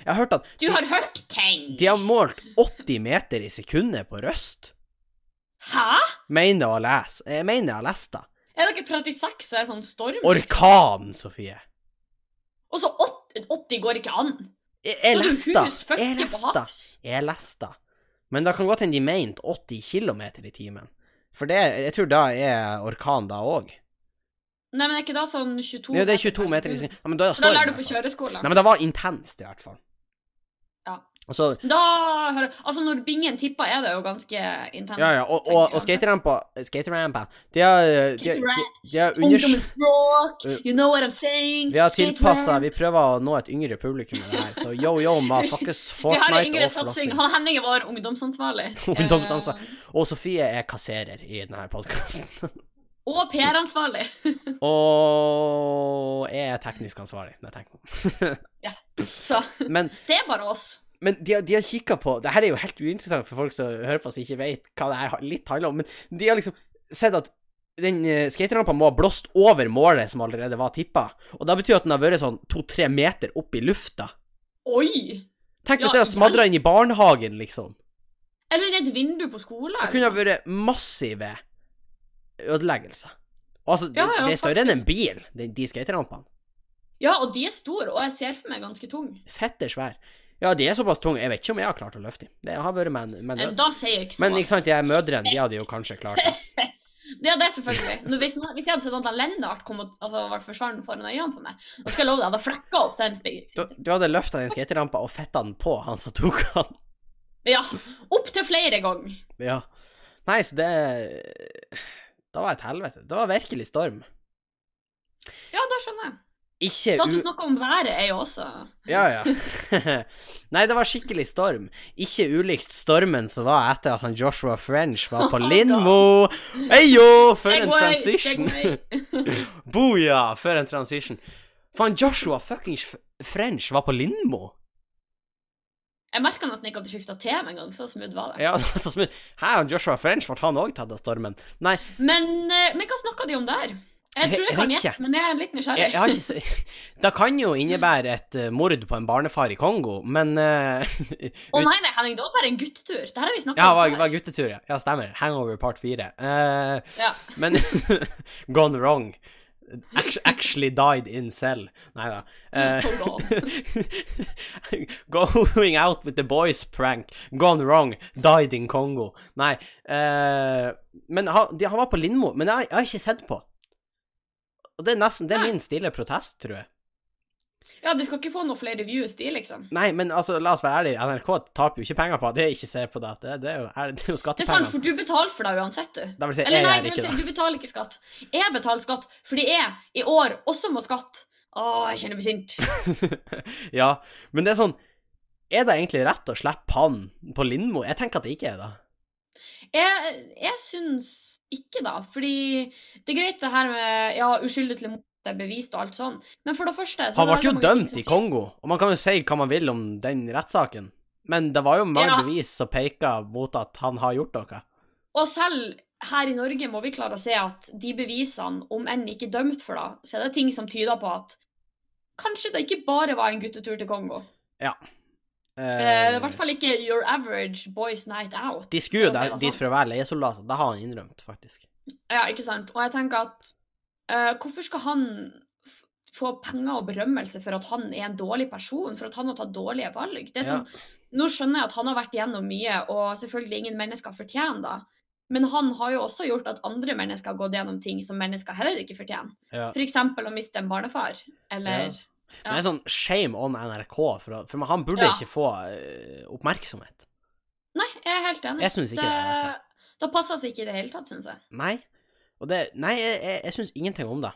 Speaker 1: jeg har hørt at
Speaker 2: Du har hørt ting!
Speaker 1: de har målt 80 meter i sekundet på Røst.
Speaker 2: Hæ?
Speaker 1: Mener å lese. Jeg mener jeg har lest det.
Speaker 2: Er dere 36 så er det sånn storm?
Speaker 1: Orkan, Sofie.
Speaker 2: Og så 80, 80 går ikke an.
Speaker 1: Jeg, jeg
Speaker 2: Så du
Speaker 1: leste det.
Speaker 2: hus 40
Speaker 1: Jeg
Speaker 2: på
Speaker 1: leste det.
Speaker 2: havs.
Speaker 1: Jeg leste det. Men det kan godt hende de mente 80 km i timen. For det, jeg tror da er orkan, da òg.
Speaker 2: Nei, men er ikke da sånn 22
Speaker 1: Det er 22 meter i
Speaker 2: sekund?
Speaker 1: sekundet. Ja, men da altså. er det storm.
Speaker 2: For da
Speaker 1: i
Speaker 2: lærer du
Speaker 1: hvert
Speaker 2: på
Speaker 1: fall.
Speaker 2: kjøreskolen.
Speaker 1: Nei, men det var intenst, i hvert fall. Så
Speaker 2: Da hører Altså, når bingen tipper, er det jo ganske intenst.
Speaker 1: Ja, ja. Og, og, og skaterampa Skaterampa De har, de, de, de har unders...
Speaker 2: Ungdommens språk,
Speaker 1: Uh,
Speaker 2: you know what I'm saying.
Speaker 1: Vi har
Speaker 2: Skate
Speaker 1: tilpassa
Speaker 2: ramp.
Speaker 1: Vi prøver å nå et yngre publikum med det her. Så yo, yo, motherfuckers.
Speaker 2: Vi har en
Speaker 1: Fortnite
Speaker 2: yngre
Speaker 1: og
Speaker 2: satsing.
Speaker 1: flossing.
Speaker 2: Han Henning er vår ungdomsansvarlig.
Speaker 1: Ungdomsansvar-
Speaker 2: Eh,
Speaker 1: Og Sofie er kasserer i denne podkasten.
Speaker 2: Eh, og PR-ansvarlig.
Speaker 1: Og jeg er teknisk ansvarlig. Nei, tenk.
Speaker 2: Så
Speaker 1: Men,
Speaker 2: det er bare oss.
Speaker 1: men de, har- de har kikka på Det her er jo helt uinteressant for folk som hører på, som ikke vet hva det her ha- litt handler om. Men de har liksom sett at den eh, skaterampa må ha blåst over målet som allerede var tippa. Og det betyr at den har vært sånn to-tre meter opp i lufta.
Speaker 2: Oi!
Speaker 1: Tenk hvis
Speaker 2: Ja,
Speaker 1: jeg hadde smadra inn i barnehagen, liksom.
Speaker 2: Eller det er et vindu på skolen.
Speaker 1: Det kunne ha vært massive ødeleggelser. Og Altså,
Speaker 2: Ja,
Speaker 1: det,
Speaker 2: ja,
Speaker 1: det er større enn en bil, de, de skaterampene.
Speaker 2: Ja, og de er store, og jeg ser for meg ganske tung.
Speaker 1: Fette svær. Ja, de er såpass tunge. Jeg vet ikke om jeg har klart å løfte dem. Det har vært med en med
Speaker 2: Eh,
Speaker 1: en nød.
Speaker 2: Da sier jeg ikke så
Speaker 1: Men ikke sant, de her mødrene, de hadde jo kanskje klart det.
Speaker 2: Ja, det er selvfølgelig. Nå, hvis, hvis jeg hadde sett at Lennart kom og altså, var forsvarende foran øynene på meg, da skal jeg love deg, jeg hadde flekka opp den
Speaker 1: Du,
Speaker 2: spikeren.
Speaker 1: du hadde løfta den skaterampa og fetta den på han som tok han.
Speaker 2: Ja. Opptil flere ganger.
Speaker 1: Ja. Nei, så det Det var et helvete. Det var virkelig storm.
Speaker 2: Ja, da skjønner jeg.
Speaker 1: Ikke
Speaker 2: Da du
Speaker 1: u...
Speaker 2: snakker om været, er jo også
Speaker 1: Ja, ja. Nei, det var skikkelig storm. Ikke ulikt stormen som var etter at han Joshua French var på
Speaker 2: Oh,
Speaker 1: Lindmo. Eyo, for en
Speaker 2: Segway,
Speaker 1: transition!
Speaker 2: segway.
Speaker 1: Boja, for en transition. Faen, Joshua fuckings F- French var på Lindmo.
Speaker 2: Jeg merka nesten ikke at du skifta tema engang, sånn så smooth var det.
Speaker 1: Ja, det var så smutt. Hæ, han Joshua French ble han òg tatt av stormen? Nei,
Speaker 2: Men, eh, men hva snakka de om der? Jeg
Speaker 1: Jeg-
Speaker 2: tror jeg
Speaker 1: jeg
Speaker 2: kan
Speaker 1: vet
Speaker 2: gjette,
Speaker 1: ikke.
Speaker 2: men jeg er litt nysgjerrig.
Speaker 1: jeg, jeg har ikke se... Det kan jo innebære et eh, mord på en barnefar i Kongo, men eh,
Speaker 2: Å nei, nei, Henning, det var bare en guttetur. Det her har vi snakka
Speaker 1: Ja,
Speaker 2: om.
Speaker 1: var,
Speaker 2: før.
Speaker 1: var guttetur, ja. Ja, stemmer. Hangover part fire. Eh,
Speaker 2: Ja.
Speaker 1: Men gone wrong. Act- Actually died in cell. Nei da. Eh,
Speaker 2: Hold
Speaker 1: going out with the boys prank. Gone wrong. Died in Kongo. Nei. eh, men han, de, han var på Lindmo, men jeg, har- jeg har ikke sett på. Og det er nesten Det er
Speaker 2: Nei.
Speaker 1: min stille protest, tror jeg.
Speaker 2: ja, de skal ikke få noen flere views, de, liksom.
Speaker 1: Nei, men altså, la oss være ærlige. NRK taper jo ikke penger på at jeg ikke ser på det. Det, det er jo, er, sånn det er jo
Speaker 2: Det er sant,
Speaker 1: skattepenger.
Speaker 2: for du betaler for deg uansett, du.
Speaker 1: Det vil si,
Speaker 2: Eller
Speaker 1: jeg
Speaker 2: nei,
Speaker 1: gjør
Speaker 2: det
Speaker 1: ikke
Speaker 2: vil
Speaker 1: det.
Speaker 2: si, du betaler ikke skatt. Jeg betaler skatt fordi jeg i år også må skatt. Å, jeg kjenner meg sint.
Speaker 1: ja, men det er sånn Er det egentlig rett å slippe han på Lindmo? Jeg tenker at det ikke er det.
Speaker 2: Jeg, jeg syns ikke, da. Fordi det er greit det her med ja, uskyldig til mot er bevist og alt sånn, men for det første så
Speaker 1: Han
Speaker 2: er det
Speaker 1: ble jo
Speaker 2: veldig mange ting
Speaker 1: dømt
Speaker 2: som
Speaker 1: i
Speaker 2: tyder-
Speaker 1: Kongo, og man kan jo si hva man vil om den rettssaken, men det var jo mange
Speaker 2: Ja.
Speaker 1: bevis som peka mot at han har gjort noe.
Speaker 2: Og selv her i Norge må vi klare å se at de bevisene, om enn ikke dømt for det, så er det ting som tyder på at kanskje det ikke bare var en guttetur til Kongo. Eh, I hvert fall ikke your average boys night out.
Speaker 1: de skulle jo
Speaker 2: for å si
Speaker 1: der-
Speaker 2: det
Speaker 1: dit
Speaker 2: sånn.
Speaker 1: for å være leiesoldater, det har han innrømt, faktisk.
Speaker 2: Ja, ikke sant. Og jeg tenker at eh, hvorfor skal han f- få penger og berømmelse for at han er en dårlig person, for at han har tatt dårlige valg? Det er
Speaker 1: Ja.
Speaker 2: sånn, Nå skjønner jeg at han har vært gjennom mye, og selvfølgelig ingen mennesker fortjener det. Men han har jo også gjort at andre mennesker har gått gjennom ting som mennesker heller ikke fortjener.
Speaker 1: Ja.
Speaker 2: F.eks. å miste en barnefar, eller
Speaker 1: Men det er sånn shame on NRK, for, å- for han burde
Speaker 2: Ja.
Speaker 1: ikke få eh, oppmerksomhet.
Speaker 2: Nei, jeg er helt enig.
Speaker 1: Jeg syns ikke det. i hvert fall.
Speaker 2: det, det passer seg ikke i det hele tatt, syns jeg.
Speaker 1: Nei. Og det, nei, jeg, jeg, jeg syns ingenting om det.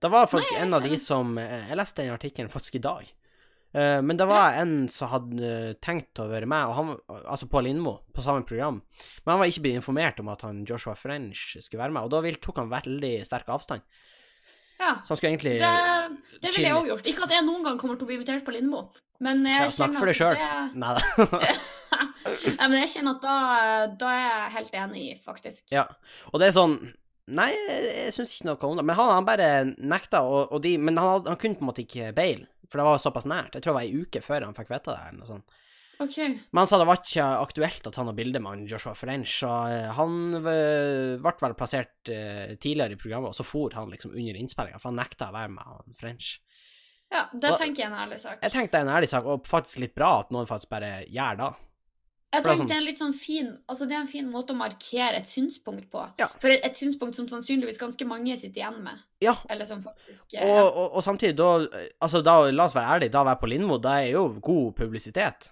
Speaker 1: Det var faktisk
Speaker 2: Nei,
Speaker 1: en
Speaker 2: jeg er
Speaker 1: av
Speaker 2: helt
Speaker 1: de
Speaker 2: enig.
Speaker 1: som eh, Jeg leste den artikkelen faktisk i dag. Eh, men det var en som hadde eh, tenkt å være med, og han, altså på Lindmo, på samme program. Men han var ikke blitt informert om at han Joshua French skulle være med, og da vil- tok han veldig sterk avstand.
Speaker 2: Ja.
Speaker 1: Så han skulle egentlig
Speaker 2: Det, det ville jeg
Speaker 1: chill
Speaker 2: òg gjort. Ikke at jeg noen gang kommer til å bli invitert på Lindmo, men jeg
Speaker 1: Ja, snakk
Speaker 2: kjenner
Speaker 1: for deg
Speaker 2: at
Speaker 1: sjøl.
Speaker 2: det-
Speaker 1: Nei da.
Speaker 2: Nei, men jeg kjenner at da, da er jeg helt enig, faktisk.
Speaker 1: Ja. Og det er sånn Nei, jeg, jeg syns ikke noe om det. Men han, han bare nekta, og, og de Men han, hadde- han kunne på en måte ikke bail, for det var såpass nært. Jeg tror det var ei uke før han fikk vite det. eller noe sånt.
Speaker 2: Ok.
Speaker 1: Men han sa det var ikke aktuelt å ta noe bilde med han Joshua French, så eh, han eh, ble vel plassert eh, tidligere i programmet, og så for han liksom under innspillinga, for han nekta å være med han French.
Speaker 2: Ja, det
Speaker 1: Hva-
Speaker 2: tenker jeg er en ærlig sak.
Speaker 1: Jeg tenkte det er en ærlig sak, og faktisk litt bra at noen faktisk bare gjør det.
Speaker 2: Jeg
Speaker 1: for det er
Speaker 2: tenker
Speaker 1: sånn-
Speaker 2: det er en litt sånn fin Altså, det er en fin måte å markere et synspunkt på.
Speaker 1: Ja.
Speaker 2: For et, et synspunkt som sannsynligvis ganske mange sitter igjen med.
Speaker 1: Ja,
Speaker 2: Eller som faktisk eh,
Speaker 1: og, og, og samtidig, da, eh, altså, da La oss være ærlige, da å være på Lindmo, det er jo god publisitet.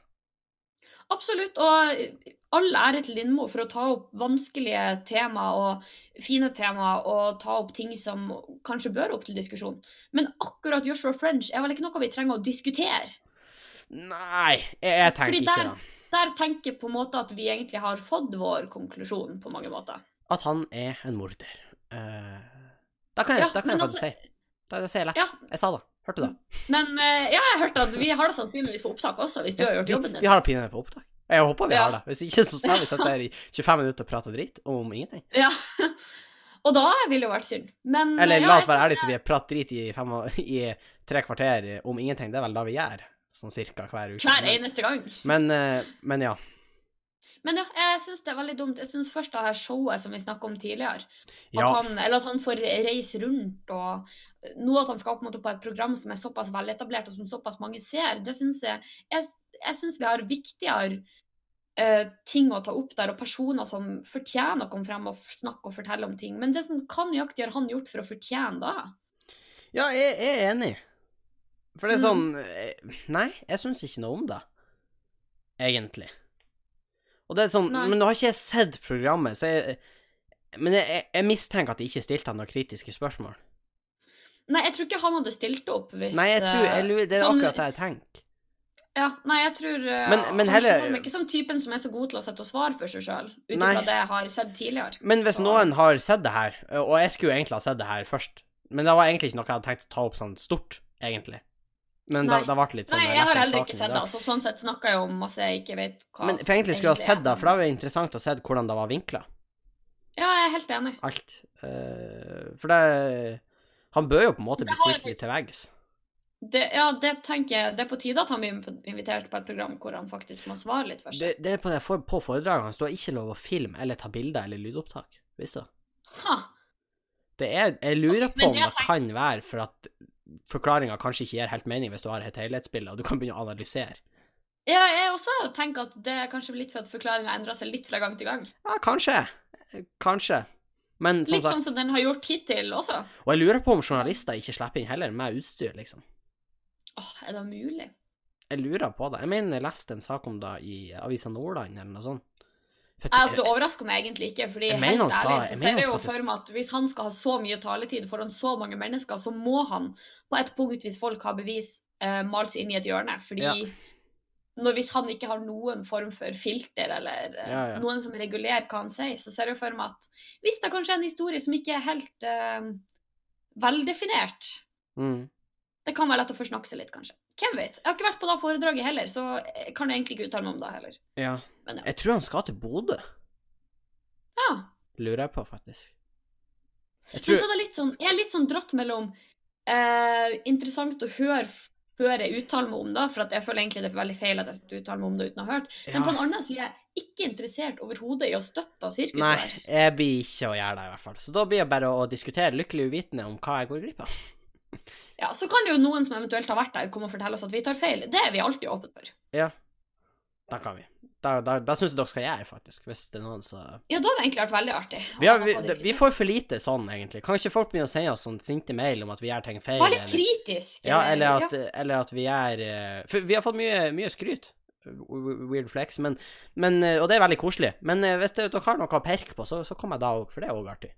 Speaker 2: Absolutt. Og all ære til Lindmo for å ta opp vanskelige tema og fine tema, og ta opp ting som kanskje bør opp til diskusjon. Men akkurat Joshua French er vel ikke noe vi trenger å diskutere.
Speaker 1: Nei, jeg, jeg tenker
Speaker 2: Fordi
Speaker 1: ikke
Speaker 2: der-
Speaker 1: det.
Speaker 2: Der tenker jeg på en måte at vi egentlig har fått vår konklusjon på mange måter.
Speaker 1: At han er en morder. Eh, da kan jeg,
Speaker 2: Ja,
Speaker 1: da kan jeg
Speaker 2: men altså-
Speaker 1: faktisk si. Da, det sier jeg lett.
Speaker 2: Ja.
Speaker 1: Jeg sa det. Hørte du det?
Speaker 2: Men eh, ja, jeg hørte at vi har det sannsynligvis på opptak også, hvis du har gjort
Speaker 1: vi,
Speaker 2: jobben
Speaker 1: Vi
Speaker 2: din.
Speaker 1: har det pinadø på opptak. Jeg håper vi
Speaker 2: Ja.
Speaker 1: har det. Hvis ikke så har vi sittet her i 25 minutter og prata dritt om ingenting.
Speaker 2: Ja. Og da ville det jo vært synd. Men eh,
Speaker 1: Eller
Speaker 2: ja,
Speaker 1: la oss
Speaker 2: jeg
Speaker 1: være ærlige, så vi prater drit i, fem, og- i tre kvarter om ingenting. Det er vel da vi gjør, sånn cirka hver uke.
Speaker 2: synes Hver
Speaker 1: Men-
Speaker 2: eneste gang.
Speaker 1: Men, eh, men ja.
Speaker 2: Men ja, jeg syns det er veldig dumt. Jeg syns først det her showet som vi snakka om tidligere At
Speaker 1: ja.
Speaker 2: han, eller at han får reise rundt, og nå at han skal opp mot på et program som er såpass veletablert, og som såpass mange ser, det syns jeg Jeg, jeg syns vi har viktigere eh, ting å ta opp der, og personer som fortjener å komme frem og f- snakke og fortelle om ting. Men det som kan nøyaktig har han gjort for å fortjene da?
Speaker 1: Ja, jeg, jeg er enig. For det er sånn
Speaker 2: Mm.
Speaker 1: eh, Nei, jeg syns ikke noe om det. Egentlig. Og det er sånn
Speaker 2: Nei.
Speaker 1: Men nå har ikke jeg sett programmet, så jeg Men jeg, jeg, jeg mistenker at de ikke stilte han noen kritiske spørsmål.
Speaker 2: Nei, jeg tror ikke han hadde stilt opp hvis
Speaker 1: Nei, jeg tror jeg,
Speaker 2: eh,
Speaker 1: lurer- Det er
Speaker 2: sånn-
Speaker 1: akkurat det jeg tenker.
Speaker 2: Ja, nei, jeg tror eh,
Speaker 1: Men- men
Speaker 2: Han
Speaker 1: heller-
Speaker 2: slår meg ikke som typen som er så god til å sette og svare for seg sjøl, ut
Speaker 1: Nei.
Speaker 2: ifra det jeg har sett tidligere.
Speaker 1: Men hvis
Speaker 2: Så-
Speaker 1: noen har sett det her, og jeg skulle jo egentlig ha sett det her først Men det var egentlig ikke noe jeg hadde tenkt å ta opp sånn stort, egentlig. Men da,
Speaker 2: Nei.
Speaker 1: da ble det litt sånn
Speaker 2: Nei, jeg
Speaker 1: leste
Speaker 2: har
Speaker 1: den
Speaker 2: heller
Speaker 1: saken
Speaker 2: ikke
Speaker 1: i
Speaker 2: sett det.
Speaker 1: dag.
Speaker 2: Altså, sånn sett snakker jeg om masse jeg ikke vet hva
Speaker 1: Men for egentlig skulle jeg ha sett det, for da var det interessant å se hvordan det var vinkla.
Speaker 2: Ja, jeg er helt enig.
Speaker 1: Alt. Eh, for det Han bør jo på en måte bli
Speaker 2: Det har
Speaker 1: stilt litt til veggs.
Speaker 2: Det, ja, det tenker jeg Det er på tide at han blir inv- invitert på et program hvor han faktisk må svare litt først.
Speaker 1: Det, det er på, det for, på foredragene står ikke lov å filme eller ta bilder eller lydopptak. Visste du?
Speaker 2: Ha,
Speaker 1: Det er Jeg lurer på
Speaker 2: men
Speaker 1: om
Speaker 2: det
Speaker 1: det,
Speaker 2: jeg tenker-
Speaker 1: kan være for at forklaringa kanskje ikke gir helt mening hvis du har et helhetsbilde, og du kan begynne å analysere.
Speaker 2: ja, jeg også tenker at det er kanskje litt for at forklaringa endrer seg litt fra gang til gang.
Speaker 1: Ja, kanskje. Kanskje. Men som
Speaker 2: Litt
Speaker 1: sagt
Speaker 2: sånn som den har gjort hittil også.
Speaker 1: Og jeg lurer på om journalister ikke slipper inn heller, med utstyr, liksom.
Speaker 2: Åh, er det mulig?
Speaker 1: Jeg lurer på det. Jeg mener jeg leste en sak om det i Avisa Nordland, eller noe sånt. For
Speaker 2: Jeg, altså, det overrasker meg egentlig ikke, fordi
Speaker 1: Jeg mener
Speaker 2: helt
Speaker 1: han skal-
Speaker 2: ærlig
Speaker 1: jeg mener
Speaker 2: så ser
Speaker 1: han
Speaker 2: jeg jo
Speaker 1: skal til-
Speaker 2: for meg at hvis han skal ha så mye taletid foran så mange mennesker, så må han på et punkt, hvis folk har bevis, eh, male seg inn i et hjørne. Fordi
Speaker 1: Ja.
Speaker 2: når, hvis han ikke har noen form for filter eller eh,
Speaker 1: Ja, ja.
Speaker 2: noen som regulerer hva han sier, så ser jeg jo for meg at hvis det kanskje er en historie som ikke er helt eh, veldefinert
Speaker 1: mm.
Speaker 2: Det kan være lett å forsnakke seg litt, kanskje. Hvem vet? Jeg har ikke vært på det foredraget heller, så jeg kan egentlig ikke uttale meg om det heller.
Speaker 1: Ja.
Speaker 2: Men ja.
Speaker 1: Jeg tror han skal til Bodø,
Speaker 2: ja.
Speaker 1: lurer jeg på, faktisk. Jeg
Speaker 2: Men så
Speaker 1: tror
Speaker 2: er det litt sånn, jeg er litt sånn dratt mellom eh, interessant å høre f- før jeg uttaler meg om det, for at jeg føler egentlig det er veldig feil at jeg skal uttale meg om det uten å ha hørt. Men på
Speaker 1: ja.
Speaker 2: den annen side er jeg ikke interessert overhodet i å støtte sirkuset
Speaker 1: Nei,
Speaker 2: der.
Speaker 1: jeg blir ikke å gjøre det, i hvert fall. Så da blir det bare å diskutere lykkelig uvitende om hva jeg går glipp av.
Speaker 2: Ja, så kan det jo noen som eventuelt har vært der, komme og fortelle oss at vi tar feil. Det er vi alltid åpne for.
Speaker 1: Da kan vi. Da, da, da syns jeg dere skal gjøre, faktisk. Hvis det er noen som
Speaker 2: Ja, det har egentlig vært veldig artig. å
Speaker 1: vi, har,
Speaker 2: ha
Speaker 1: vi,
Speaker 2: noe å
Speaker 1: det- vi
Speaker 2: diskutere.
Speaker 1: får for lite sånn, egentlig. Kan ikke folk begynne å sende oss sånn sinte mail om at vi gjør ting feil?
Speaker 2: Vær litt
Speaker 1: eller-
Speaker 2: kritisk.
Speaker 1: Ja, eller
Speaker 2: ja.
Speaker 1: at, eller at vi er eh, For vi har fått mye, mye skryt. W- Weird flex, men, men eh, Og det er veldig koselig. Men eh, hvis det- dere har noe å perke på, så, så kom jeg da òg, for det er òg artig.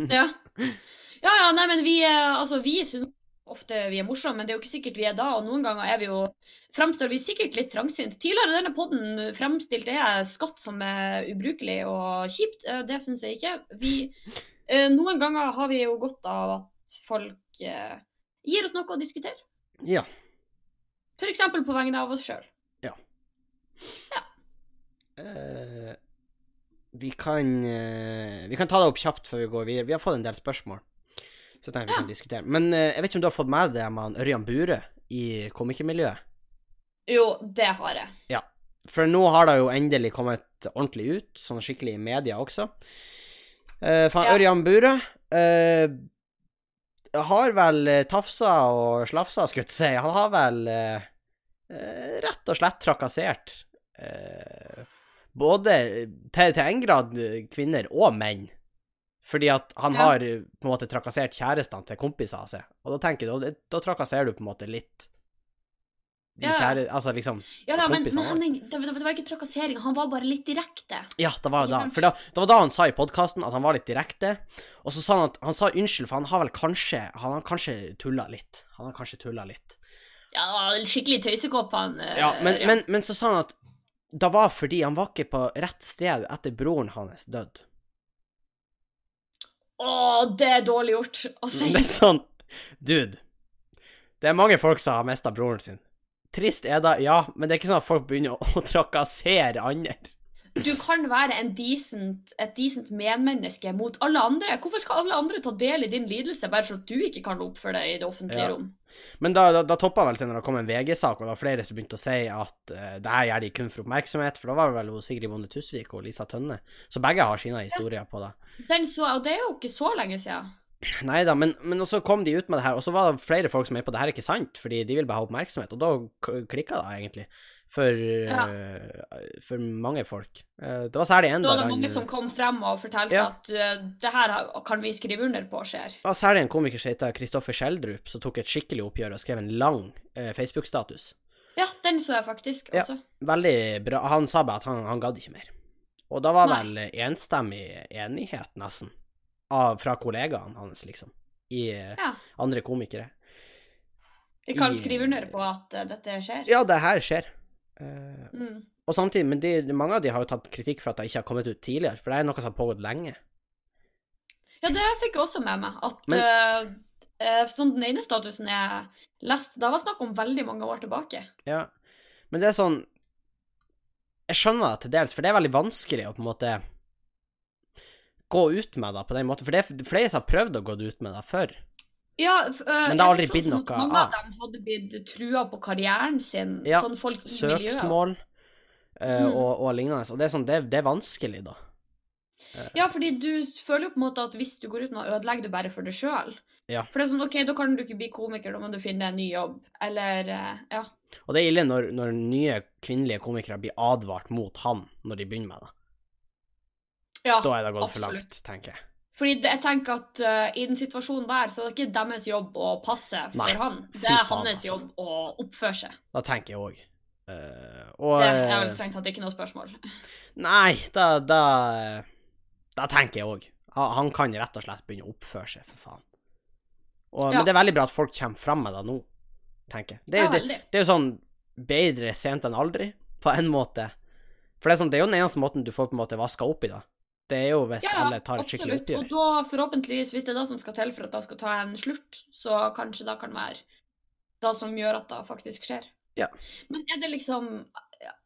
Speaker 2: Ja. ja, ja, nei, men vi, eh, altså, vi syns ofte vi er morsomme, men det er jo ikke sikkert vi er da. Og noen ganger er vi jo, fremstår vi sikkert litt trangsynte. Tidligere i denne podden fremstilte jeg skatt som er ubrukelig og kjipt. Eh, Det syns jeg ikke. Vi, eh, noen ganger har vi jo godt av at folk eh, gir oss noe å diskutere.
Speaker 1: Ja.
Speaker 2: F.eks. på vegne av oss sjøl.
Speaker 1: Eh, vi kan eh, Vi kan ta det opp kjapt før vi går videre. Vi har fått en del spørsmål. Så jeg tenker vi
Speaker 2: Ja.
Speaker 1: kan diskutere. Men eh, jeg vet ikke om du har fått med deg det med han Ørjan Bure i komikermiljøet?
Speaker 2: Jo, det har jeg.
Speaker 1: For nå har det jo endelig kommet ordentlig ut, sånn skikkelig i media også. Eh, for
Speaker 2: Ja.
Speaker 1: Ørjan Bure eh, har vel eh, tafsa og slafsa, skulle jeg si. Han har vel eh, eh, rett og slett trakassert eh, både til, til en grad eh, kvinner og menn. Fordi at han
Speaker 2: Ja.
Speaker 1: har eh, på en måte trakassert kjærestene til kompisene sine. Og da tenker jeg, da, da trakasserer du på en måte litt De
Speaker 2: Ja.
Speaker 1: kjære Altså, liksom
Speaker 2: Ja, da, men, men
Speaker 1: Kompisene,
Speaker 2: Henning, det, det, det var ikke trakassering, han var bare litt direkte.
Speaker 1: Ja, det var jo
Speaker 2: Ikke
Speaker 1: da.
Speaker 2: sant?
Speaker 1: For da, det var da han sa i podkasten at han var litt direkte. Og så sa han at han sa unnskyld, for han har vel kanskje Han har kanskje tulla litt. Han har kanskje tulla litt.
Speaker 2: Ja, det var skikkelig tøysekopp, han. eh,
Speaker 1: Ja, men,
Speaker 2: Ørjan.
Speaker 1: men, men så sa han at det var fordi han var ikke på rett sted etter broren hans døde.
Speaker 2: Å, det er dårlig gjort å si.
Speaker 1: Det er sånn Dude. Det er mange folk som har mista broren sin. Trist er det, ja, men det er ikke sånn at folk begynner å, å trakassere andre.
Speaker 2: Du kan være en decent, et decent medmenneske mot alle andre. Hvorfor skal alle andre ta del i din lidelse bare for at du ikke kan oppføre deg i det offentlige
Speaker 1: Ja.
Speaker 2: rom?
Speaker 1: Men da, da, da toppa vel seg når det kom en VG-sak, og det var flere som begynte å si at eh, det her gjør de kun for oppmerksomhet, for da var det vel hun Sigrid Bonde Tusvik og Lisa Tønne. Så begge har sine historier på det.
Speaker 2: Den så, og det er jo ikke så lenge siden.
Speaker 1: Nei da, men, men så kom de ut med det her, og så var det flere folk som er på det her er ikke sant, fordi de vil bare ha oppmerksomhet, og da k- klikka det egentlig. For, eh, for mange folk. Eh, Det var særlig en
Speaker 2: Da
Speaker 1: der
Speaker 2: var det
Speaker 1: han-
Speaker 2: mange som kom frem og fortalte
Speaker 1: eh, Ja.
Speaker 2: at eh, det her har- kan vi skrive under på skjer.
Speaker 1: Det var særlig en komiker som heter Kristoffer Schjelderup, som tok et skikkelig oppgjør og skrev en lang eh, Facebook-status.
Speaker 2: Ja, den så jeg faktisk
Speaker 1: Ja.
Speaker 2: også.
Speaker 1: Veldig bra. Han sa bare at han, han gadd ikke mer. Og da var
Speaker 2: Nei.
Speaker 1: vel enstemmig enighet, nesten, av, fra kollegaene hans, liksom, i eh,
Speaker 2: Ja.
Speaker 1: andre komikere.
Speaker 2: Vi kan
Speaker 1: I-
Speaker 2: skrive under på at eh, dette skjer.
Speaker 1: Ja, det her skjer. Eh,
Speaker 2: Mm.
Speaker 1: og samtidig, men de, mange av de har jo tatt kritikk for at det ikke har kommet ut tidligere, for det er noe som har pågått lenge.
Speaker 2: Ja, det fikk jeg også med meg. At
Speaker 1: Men-
Speaker 2: eh, eh, sånn den ene statusen jeg leste, da var snakk om veldig mange år tilbake.
Speaker 1: Ja. Men det er sånn Jeg skjønner det til dels, for det er veldig vanskelig å på en måte gå ut med det på den måten. For det er flere som har prøvd å gå ut med det før.
Speaker 2: Ja, f- eh,
Speaker 1: Men det har
Speaker 2: jeg
Speaker 1: aldri
Speaker 2: fikk
Speaker 1: blitt
Speaker 2: sånn at
Speaker 1: noe
Speaker 2: Mange
Speaker 1: av.
Speaker 2: av dem hadde blitt trua på karrieren sin.
Speaker 1: Ja,
Speaker 2: Sånn folk i miljøet.
Speaker 1: Søksmål eh,
Speaker 2: Mm.
Speaker 1: og, og lignende. Og det er sånn, det, det er vanskelig, da.
Speaker 2: Ja, fordi du føler jo på en måte at hvis du går ut med det, ødelegger du bare for deg sjøl.
Speaker 1: Ja.
Speaker 2: For det er sånn, OK, da kan du ikke bli komiker, da må du finne deg en ny jobb. Eller eh, Ja.
Speaker 1: Og det er ille når, når nye kvinnelige komikere blir advart mot han når de begynner med det.
Speaker 2: ja.
Speaker 1: Da er det gått for
Speaker 2: absolutt.
Speaker 1: langt, tenker jeg.
Speaker 2: Fordi det, jeg tenker at eh, i den situasjonen der, så er det ikke deres jobb å passe for
Speaker 1: Nei,
Speaker 2: han.
Speaker 1: fy
Speaker 2: Det er
Speaker 1: faen,
Speaker 2: hans
Speaker 1: altså.
Speaker 2: jobb å oppføre seg.
Speaker 1: Da tenker jeg òg. og
Speaker 2: Det er vel
Speaker 1: eh,
Speaker 2: strengt tatt ikke noe spørsmål.
Speaker 1: Nei, da, da Da tenker jeg òg. Han kan rett og slett begynne å oppføre seg, for faen. Og,
Speaker 2: Ja.
Speaker 1: Men det er veldig bra at folk kommer fram med det nå, tenker jeg. Det er,
Speaker 2: Ja,
Speaker 1: jo- det,
Speaker 2: veldig.
Speaker 1: det er jo sånn bedre sent enn aldri, på en måte. For det er, sånn, det er jo den eneste måten du får på en måte vaska opp i det. Det er jo hvis
Speaker 2: Ja, ja,
Speaker 1: alle tar et skikkelig
Speaker 2: absolutt. Og
Speaker 1: oppgjør.
Speaker 2: da forhåpentligvis, hvis det er det som skal til for at jeg skal ta en slurt, så kanskje det kan være det som gjør at det faktisk skjer.
Speaker 1: Ja.
Speaker 2: Men er det liksom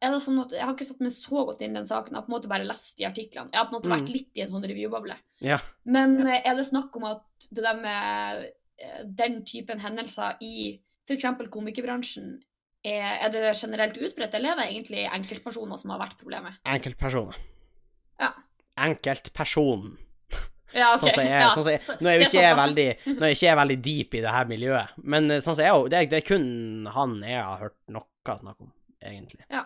Speaker 2: er det sånn at, Jeg har ikke satt meg så godt inn i den saken. Jeg har på en måte bare lest de artiklene. Jeg har på en måte
Speaker 1: Mm.
Speaker 2: vært litt i en sånn revyboble.
Speaker 1: Ja.
Speaker 2: Men eh, er det snakk om at det der med eh, den typen hendelser i f.eks. komikerbransjen, er, er det generelt utbredt, eller er det egentlig enkeltpersoner som har vært problemet?
Speaker 1: Enkeltpersoner.
Speaker 2: Ja.
Speaker 1: Enkeltpersonen.
Speaker 2: Ja,
Speaker 1: Sånn som jeg er.
Speaker 2: ja,
Speaker 1: Sånn som jeg,
Speaker 2: så-
Speaker 1: nå er jo
Speaker 2: det
Speaker 1: ikke jeg
Speaker 2: såpass.
Speaker 1: veldig Nå er ikke jeg veldig deep i det her miljøet, men eh, sånn som jeg det er, det er kun han jeg har hørt noe snakk om, egentlig.
Speaker 2: Ja.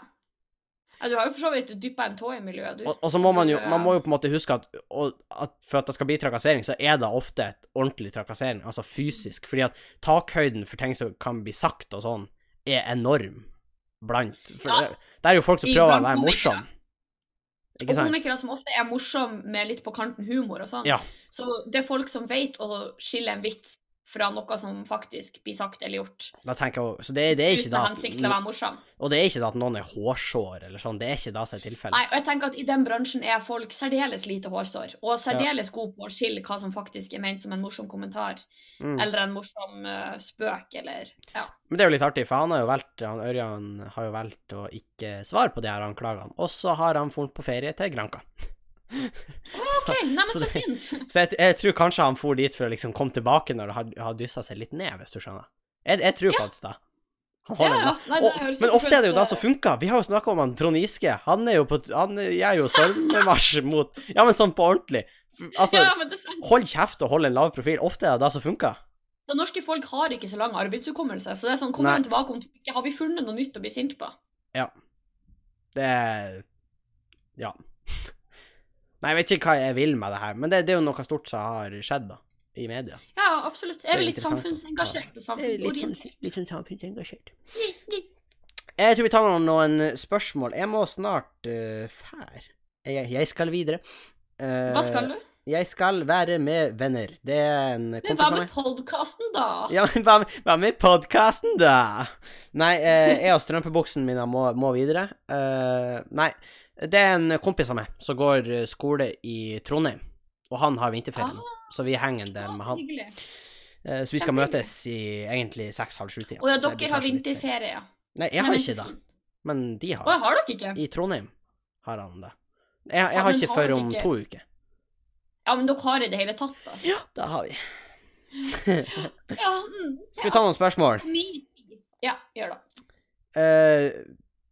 Speaker 2: ja. Du har jo for så vidt dyppa en tå i miljøet, du.
Speaker 1: Og, og så må man jo
Speaker 2: Ja.
Speaker 1: Man må jo på en måte huske at, og, at for at det skal bli trakassering, så er det ofte et ordentlig trakassering, altså fysisk, fordi at takhøyden for ting som kan bli sagt og sånn, er enorm blant For
Speaker 2: Ja.
Speaker 1: det, det er jo folk som
Speaker 2: I
Speaker 1: prøver å
Speaker 2: blant
Speaker 1: være
Speaker 2: komikere.
Speaker 1: morsomme. Ikke
Speaker 2: og
Speaker 1: sant?
Speaker 2: komikere som ofte er morsomme med litt på kanten humor og sånn.
Speaker 1: Ja.
Speaker 2: Så det er folk som vet å skille en vits fra noe som faktisk blir sagt eller gjort.
Speaker 1: Da tenker jeg, jo- så det, det er ikke
Speaker 2: uten
Speaker 1: da
Speaker 2: hensikt til å
Speaker 1: at,
Speaker 2: være morsom.
Speaker 1: Og det er ikke da at noen er hårsår eller sånn, det er ikke da som er
Speaker 2: Nei,
Speaker 1: tilfellet.
Speaker 2: og jeg tenker at i den bransjen er folk særdeles lite hårsår, og særdeles gode på å skille hva som faktisk er ment som en morsom kommentar,
Speaker 1: Mm.
Speaker 2: eller en morsom eh, spøk, eller ja.
Speaker 1: Men det er jo litt artig, for han har jo valgt, han Ørjan har jo valgt å ikke svare på de her anklagene. Og så har han funnet på ferie til Granka.
Speaker 2: Å, OK, nei, men
Speaker 1: så
Speaker 2: så,
Speaker 1: det-
Speaker 2: fint.
Speaker 1: Så jeg, jeg tror kanskje han for dit for å liksom komme tilbake når det har, har dyssa seg litt ned, hvis du skjønner. Jeg, jeg tror faktisk det. Han
Speaker 2: Ja,
Speaker 1: holder
Speaker 2: ja.
Speaker 1: med.
Speaker 2: Nei, det
Speaker 1: Og,
Speaker 2: høres
Speaker 1: men
Speaker 2: ut som
Speaker 1: ofte er det jo
Speaker 2: et,
Speaker 1: da
Speaker 2: eh,
Speaker 1: som funker. Vi har jo snakka om han Trond Giske. Han er jo på Han gjør jo stormmarsj mot Ja, men sånn på ordentlig. Altså,
Speaker 2: ja, men det er sant.
Speaker 1: hold kjeft og hold en lav profil. Ofte er det det som funker.
Speaker 2: Det norske folk har ikke så lang arbeidshukommelse. Så det er sånn, kommer
Speaker 1: Nei.
Speaker 2: man tilbake om ikke har vi funnet noe nytt å bli sint på?
Speaker 1: Det er- Ja. Nei, jeg vet ikke hva jeg vil med det her, men det, det er jo noe stort som har skjedd, da. I media.
Speaker 2: Ja, absolutt.
Speaker 1: Så
Speaker 2: Jeg er litt
Speaker 1: interessant å ta det.
Speaker 2: samfunnsengasjert og
Speaker 1: Jeg er Litt sånn,
Speaker 2: samfunnsorientert.
Speaker 1: litt sånn samfunnsengasjert. Jeg tror vi tar noen, noen spørsmål. Jeg må snart uh, fær. Jeg, jeg skal videre. Eh,
Speaker 2: Hva skal du?
Speaker 1: Jeg skal være med venner. Det er en
Speaker 2: Men hva
Speaker 1: kompis av meg.
Speaker 2: med podkasten, da?
Speaker 1: Ja, men hva med, hva med podkasten, da? Nei, eh, jeg og strømpebuksen min må, må videre. Eh, nei, det er en kompis av meg som går eh, skole i Trondheim, og han har vinterferie nå,
Speaker 2: Ah,
Speaker 1: så vi henger en del med
Speaker 2: så
Speaker 1: han.
Speaker 2: hyggelig.
Speaker 1: Eh, så vi skal møtes i egentlig seks-halv sju-tida.
Speaker 2: Og ja,
Speaker 1: så jeg blir
Speaker 2: dere har
Speaker 1: kanskje litt sen.
Speaker 2: vinterferie, ja.
Speaker 1: Nei, jeg
Speaker 2: Nei,
Speaker 1: har
Speaker 2: men
Speaker 1: ikke
Speaker 2: så
Speaker 1: det,
Speaker 2: fint.
Speaker 1: men de har
Speaker 2: Å,
Speaker 1: det.
Speaker 2: jeg har dere ikke?
Speaker 1: I Trondheim har han det. Jeg, jeg
Speaker 2: Ja,
Speaker 1: har
Speaker 2: men
Speaker 1: ikke
Speaker 2: har
Speaker 1: før
Speaker 2: dere
Speaker 1: om
Speaker 2: ikke-
Speaker 1: to uker.
Speaker 2: Ja, men dere har i det hele tatt, da.
Speaker 1: Ja, da har vi.
Speaker 2: Ja, mm,
Speaker 1: Skal vi ta noen spørsmål?
Speaker 2: Ni. Ja, gjør det.
Speaker 1: Eh,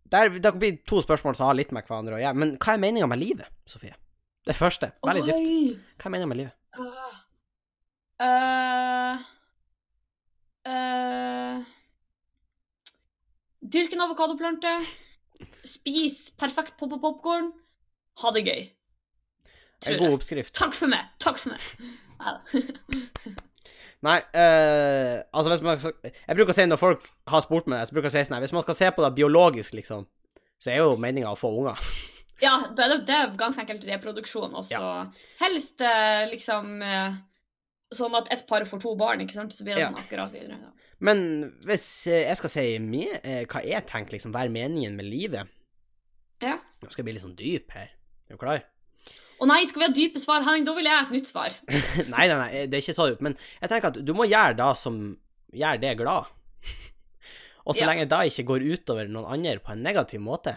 Speaker 1: der, det blir to spørsmål som har litt med hverandre å gjøre. Men hva er meninga med livet, Sofie? Det første. Veldig dypt.
Speaker 2: Oi.
Speaker 1: Hva er meninga med livet?
Speaker 2: Ah. Eh, eh, Dyrk en avokadoplante. Spis perfekt pop og popkorn. Ha det gøy.
Speaker 1: En
Speaker 2: Tror
Speaker 1: god
Speaker 2: jeg.
Speaker 1: oppskrift.
Speaker 2: Takk for meg! Takk for meg. Neida.
Speaker 1: Nei, eh, altså hvis man skal- Jeg bruker å si når folk har spurt meg så bruker jeg å si sånn her Hvis man skal se på det biologisk, liksom, så er jo meninga å få unger.
Speaker 2: Ja, det er, det er ganske enkelt reproduksjon også. Helst eh, liksom eh, sånn at ett par får to barn, ikke sant? Så blir det
Speaker 1: Ja.
Speaker 2: sånn akkurat videre. Ja.
Speaker 1: Men hvis eh, jeg skal si me, eh, hva jeg tenker liksom være meningen med livet
Speaker 2: Ja.
Speaker 1: Nå skal jeg bli litt sånn dyp her. Er du klar?
Speaker 2: Å nei, skal vi ha dype svar? Henning, da vil jeg ha et nytt svar.
Speaker 1: nei, nei, nei, det er ikke så dypt. Men jeg tenker at du må gjøre det som gjør det glad. Og så
Speaker 2: Ja.
Speaker 1: lenge det ikke går utover noen andre på en negativ måte.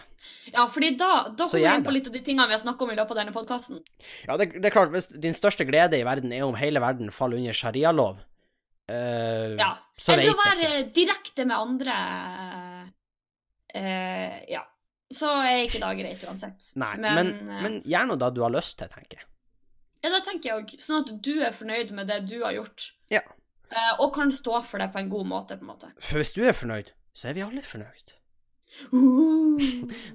Speaker 2: Ja, fordi da, da
Speaker 1: Så
Speaker 2: kommer vi
Speaker 1: gjerne.
Speaker 2: inn på litt av de tingene vi har snakket om i løpet av denne podkasten.
Speaker 1: Ja, det, det er klart, hvis din største glede i verden er om hele verden faller under sharialov, eh,
Speaker 2: Ja.
Speaker 1: så vet
Speaker 2: Eller
Speaker 1: jeg
Speaker 2: å være
Speaker 1: ikke.
Speaker 2: direkte med andre eh, Ja. Så er ikke det greit uansett.
Speaker 1: Nei, men, men,
Speaker 2: eh,
Speaker 1: gjør nå det du har lyst til, tenker jeg.
Speaker 2: Ja, da tenker jeg òg. Sånn at du er fornøyd med det du har gjort.
Speaker 1: Ja.
Speaker 2: Eh, og kan stå for det på en god måte, på en måte.
Speaker 1: For hvis du er fornøyd, så er vi alle fornøyd.
Speaker 2: Uh.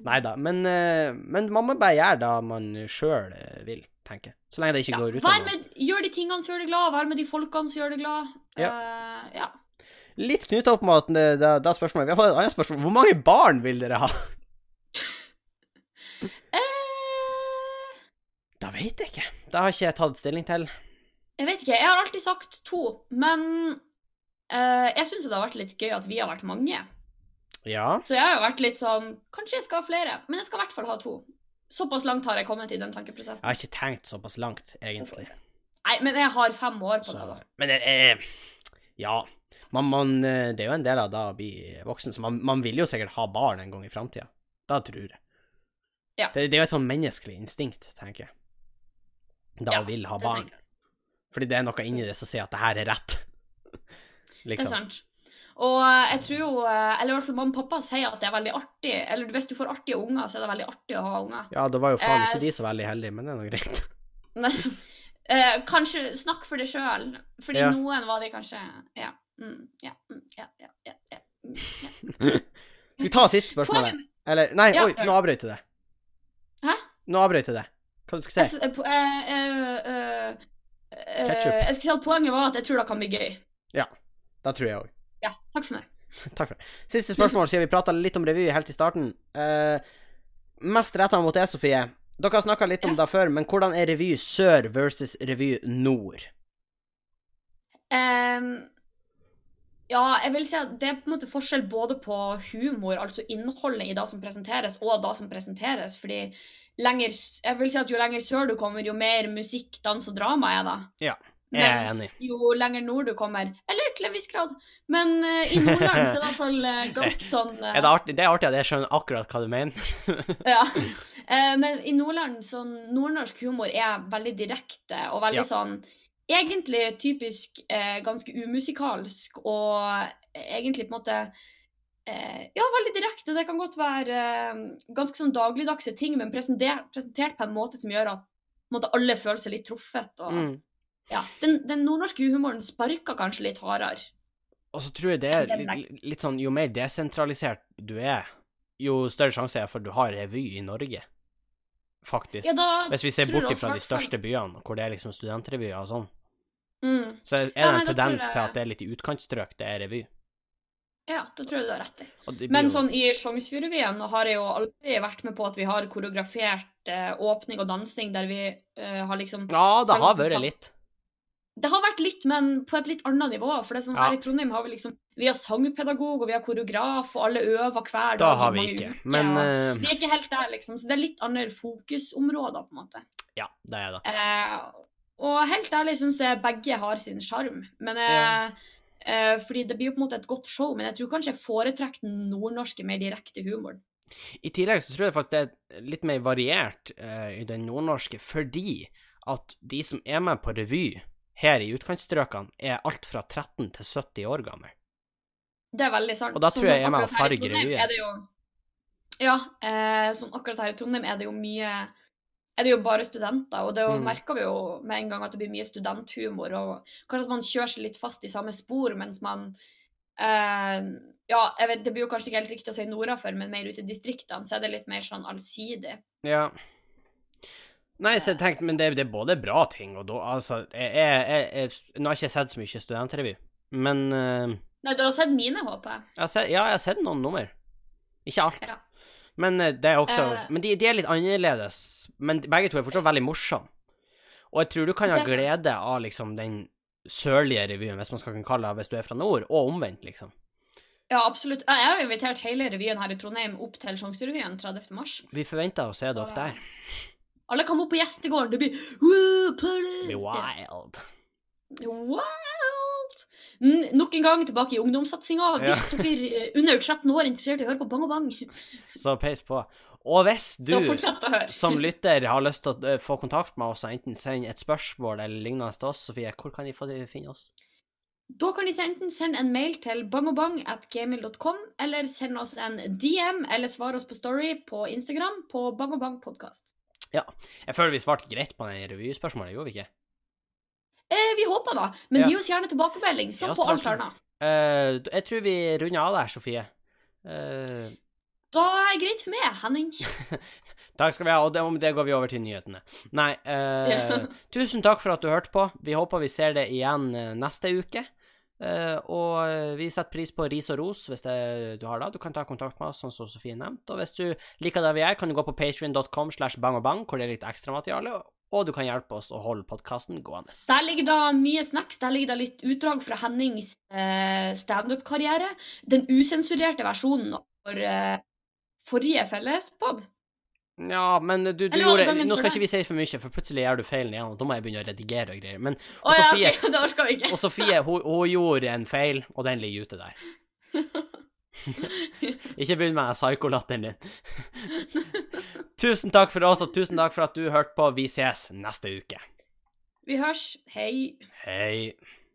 Speaker 1: Nei da, men, eh, men man må bare gjøre det man sjøl vil, tenker jeg. Så lenge det ikke
Speaker 2: Ja.
Speaker 1: går
Speaker 2: Vær
Speaker 1: utover.
Speaker 2: med, gjør de tingene som gjør deg glad, vær med de folkene som gjør deg glad.
Speaker 1: Ja.
Speaker 2: Eh, ja.
Speaker 1: Litt knytta opp med at det, det, det er spørsmålet Vi har fått et annet spørsmål. Hvor mange barn vil dere ha?
Speaker 2: Eh,
Speaker 1: Det vet jeg ikke. Det har ikke jeg tatt stilling til.
Speaker 2: jeg vet ikke, jeg har alltid sagt to, men eh, jeg syns det har vært litt gøy at vi har vært mange.
Speaker 1: Ja.
Speaker 2: Så jeg har jo vært litt sånn Kanskje jeg skal ha flere, men jeg skal i hvert fall ha to. Såpass langt har jeg kommet i den tankeprosessen.
Speaker 1: Jeg har ikke tenkt såpass langt, egentlig.
Speaker 2: Nei, men jeg har fem år på
Speaker 1: Så,
Speaker 2: det. da.
Speaker 1: men det er Ja. Man, man, eh, det er jo en del av det å bli voksen, så man, man vil jo sikkert ha barn en gang i framtida. Det tror jeg.
Speaker 2: Ja.
Speaker 1: Det, det er jo et sånn menneskelig instinkt, tenker jeg. Da
Speaker 2: Ja,
Speaker 1: å vil ha
Speaker 2: Det
Speaker 1: barn.
Speaker 2: tenker jeg.
Speaker 1: Fordi det er noe inni det som sier at det her er rett.
Speaker 2: Det er
Speaker 1: Liksom.
Speaker 2: sant. Og eh, jeg tror jo, eh, eller i hvert fall mamma og pappa sier at det er veldig artig, eller hvis du får artige unger, så er det veldig artig å ha unger.
Speaker 1: Ja, da var jo faen
Speaker 2: Eh,
Speaker 1: ikke de
Speaker 2: s-
Speaker 1: så veldig heldige, men det er nå greit.
Speaker 2: Nei. Eh, kanskje snakk for deg sjøl, fordi
Speaker 1: Ja.
Speaker 2: noen var de kanskje Ja. Mm, ja, mm, ja, ja, ja, ja. mm, ja.
Speaker 1: Skal vi ta siste spørsmålet? Eller Nei,
Speaker 2: Ja,
Speaker 1: oi,
Speaker 2: gjør det.
Speaker 1: nå avbrøt jeg det.
Speaker 2: Hæ?
Speaker 1: Nå avbrøt jeg det. Hva du skulle
Speaker 2: Jeg
Speaker 1: si?
Speaker 2: s- eh, po- eh, eh, eh, eh,
Speaker 1: Ketchup.
Speaker 2: Jeg skulle si at poenget var at jeg tror det kan bli gøy.
Speaker 1: Da tror jeg òg.
Speaker 2: Ja, takk for meg.
Speaker 1: Takk for det. Siste spørsmål, siden vi prata litt om revy helt i starten. Eh, mest retta mot deg, Sofie. Dere har snakka litt om det før, men hvordan er revy sør versus revy nord?
Speaker 2: Em, Ehm, ja, jeg vil si at det er på en måte forskjell både på humor, altså innholdet i det som presenteres, og det som presenteres. Fordi lenger, s- jeg vil si at jo lenger sør du kommer, jo mer musikk, dans og drama er det.
Speaker 1: Ja, jeg er
Speaker 2: Mens jo lenger nord du kommer, eller til en viss grad, men eh, i Nordland så er det i hvert fall eh, ganske sånn eh,
Speaker 1: artig, det er artig at jeg skjønner akkurat hva du mener.
Speaker 2: ja. Eh, men i Nordland, sånn nordnorsk humor er veldig direkte og veldig
Speaker 1: Ja.
Speaker 2: sånn Egentlig typisk eh, ganske umusikalsk og egentlig på en måte eh, Ja, veldig direkte. Det kan godt være eh, ganske sånn dagligdagse ting, men presentert, presentert på en måte som gjør at på en måte, alle føler seg litt truffet. Og,
Speaker 1: Mm.
Speaker 2: ja. den, den nordnorske humoren sparker kanskje litt hardere.
Speaker 1: Og så tror jeg det er litt, litt sånn Jo mer desentralisert du er, jo større sjanse er det for at du har revy i Norge, faktisk.
Speaker 2: Ja, da,
Speaker 1: Hvis vi ser
Speaker 2: tror
Speaker 1: bort
Speaker 2: også
Speaker 1: ifra de
Speaker 2: hvertfall-
Speaker 1: største byene, hvor det er liksom studentrevyer og sånn,
Speaker 2: mm.
Speaker 1: så er det
Speaker 2: Ja,
Speaker 1: en
Speaker 2: nei, da tror
Speaker 1: tendens
Speaker 2: jeg-
Speaker 1: til at det er litt i utkantstrøk det er revy.
Speaker 2: Ja, da tror jeg du har rett i.
Speaker 1: Og det blir
Speaker 2: Men
Speaker 1: jo-
Speaker 2: sånn i Sjongsfjordrevyen har jeg jo aldri vært med på at vi har koreografert eh, åpning og dansing der vi eh, har liksom
Speaker 1: Ja, det har
Speaker 2: Selv-
Speaker 1: vært
Speaker 2: selv-
Speaker 1: litt.
Speaker 2: Det har vært litt, men på et litt annet nivå. For det er sånn
Speaker 1: Ja.
Speaker 2: her i Trondheim har vi liksom Vi har sangpedagog, og vi har koreograf, og alle øver hver dag.
Speaker 1: Da
Speaker 2: i
Speaker 1: har vi
Speaker 2: mange
Speaker 1: ikke.
Speaker 2: uker,
Speaker 1: Men
Speaker 2: og-
Speaker 1: eh,
Speaker 2: Vi er ikke helt der, liksom. Så det er litt andre fokusområder, på en måte.
Speaker 1: ja, det er det.
Speaker 2: Eh, og helt ærlig syns jeg begge har sin sjarm. Men eh,
Speaker 1: Ja.
Speaker 2: eh, fordi det blir jo på en måte et godt show, men jeg tror kanskje jeg foretrekker den nordnorske mer direkte humoren.
Speaker 1: I tillegg så tror jeg faktisk det er litt mer variert eh, i den nordnorske, fordi at de som er med på revy her i utkantstrøkene, er alt fra 13 til 70 år gammel.
Speaker 2: Det er veldig sant.
Speaker 1: Og da
Speaker 2: Sånn
Speaker 1: tror jeg
Speaker 2: som
Speaker 1: jeg er med
Speaker 2: akkurat
Speaker 1: og
Speaker 2: her i
Speaker 1: farger
Speaker 2: Trondheim
Speaker 1: revyen.
Speaker 2: er det jo- Ja, eh, sånn akkurat her i Trondheim er det jo mye er det jo bare studenter, og det jo-
Speaker 1: Mm.
Speaker 2: merker vi jo med en gang at det blir mye studenthumor, og kanskje at man kjører seg litt fast i samme spor mens man eh, Ja, jeg vet, det blir jo kanskje ikke helt riktig å si nordafor, men mer ute i distriktene, så er det litt mer sånn allsidig.
Speaker 1: Ja. Nei, så jeg tenkte, men det, det er både bra ting, og da Altså, jeg, jeg, jeg, jeg Nå har ikke jeg sett så mye studentrevy, men eh,
Speaker 2: Nei, du har sett mine, håper jeg.
Speaker 1: jeg har sett, Ja, jeg har sett noen nummer. Ikke alt.
Speaker 2: Ja.
Speaker 1: Men eh, det er også
Speaker 2: Eh.
Speaker 1: Men de, de er litt annerledes. Men de- begge to er fortsatt veldig morsomme. Og jeg tror du kan ha
Speaker 2: Det er
Speaker 1: glede av liksom den sørlige revyen, hvis man skal kunne kalle det hvis du er fra nord, og omvendt, liksom.
Speaker 2: Ja, absolutt. Jeg har jo invitert hele revyen her i Trondheim opp til Sjanserevyen 30. mars.
Speaker 1: Vi forventer å se
Speaker 2: Så-
Speaker 1: dere der.
Speaker 2: Alle kommer opp på gjestegården, det blir «Woo, party!
Speaker 1: Det blir
Speaker 2: Ja.
Speaker 1: wild.
Speaker 2: Wild! N nok en gang tilbake i ungdomssatsinga.
Speaker 1: Ja.
Speaker 2: Hvis dere eh, under 13 år er interessert i å høre på Bang og Bang,
Speaker 1: Så peis på. Og hvis du
Speaker 2: så fortsett å høre.
Speaker 1: som lytter har lyst til å eh, få kontakt med oss, og enten send et spørsmål eller lignende til oss, Sofie, hvor kan de få finne oss?
Speaker 2: Da kan de enten sende en mail til bangobang.gmil.com, eller sende oss en DM, eller svare oss på Story på Instagram på bangobangpodkast.
Speaker 1: Jeg føler vi svarte greit på det revyspørsmålet, gjorde vi ikke?
Speaker 2: Eh, vi håper da, men
Speaker 1: Ja.
Speaker 2: gi oss gjerne tilbakemelding,
Speaker 1: Gi
Speaker 2: som
Speaker 1: oss
Speaker 2: på alt
Speaker 1: tilbakemelding.
Speaker 2: annet.
Speaker 1: Eh, jeg tror vi runder av der, Sofie. Eh,
Speaker 2: Da er det greit for meg, Henning.
Speaker 1: Takk skal vi ha, og det, om det går vi over til nyhetene. Nei, eh, tusen takk for at du hørte på. Vi håper vi ser det igjen eh, neste uke. Eh, og eh, vi setter pris på ris og ros hvis det, du har det. Du kan ta kontakt med oss, sånn som Sofie nevnte. Og hvis du liker det vi gjør, kan du gå på patrion.com slash bangobang, hvor det er litt ekstramateriale, og du kan hjelpe oss å holde podkasten gående.
Speaker 2: Der ligger da mye snacks, der ligger da litt utdrag fra Hennings eh, standup-karriere. Den usensurerte versjonen for eh, forrige fellespod.
Speaker 1: Ja, men du, du
Speaker 2: Eller var det
Speaker 1: gjorde
Speaker 2: gangen
Speaker 1: Nå
Speaker 2: før
Speaker 1: skal
Speaker 2: det?
Speaker 1: ikke vi si for mye, for plutselig gjør du feilen igjen, og da må jeg begynne å redigere og greier. Men,
Speaker 2: Å ja,
Speaker 1: Sofie.
Speaker 2: ok, det orka vi ikke.
Speaker 1: og Sofie, hun, hun gjorde en feil, og den ligger ute der. Ikke begynn med den psykolatteren din. tusen takk for oss, og tusen takk for at du hørte på. Vi ses neste uke.
Speaker 2: Vi hørs. Hei.
Speaker 1: Hei.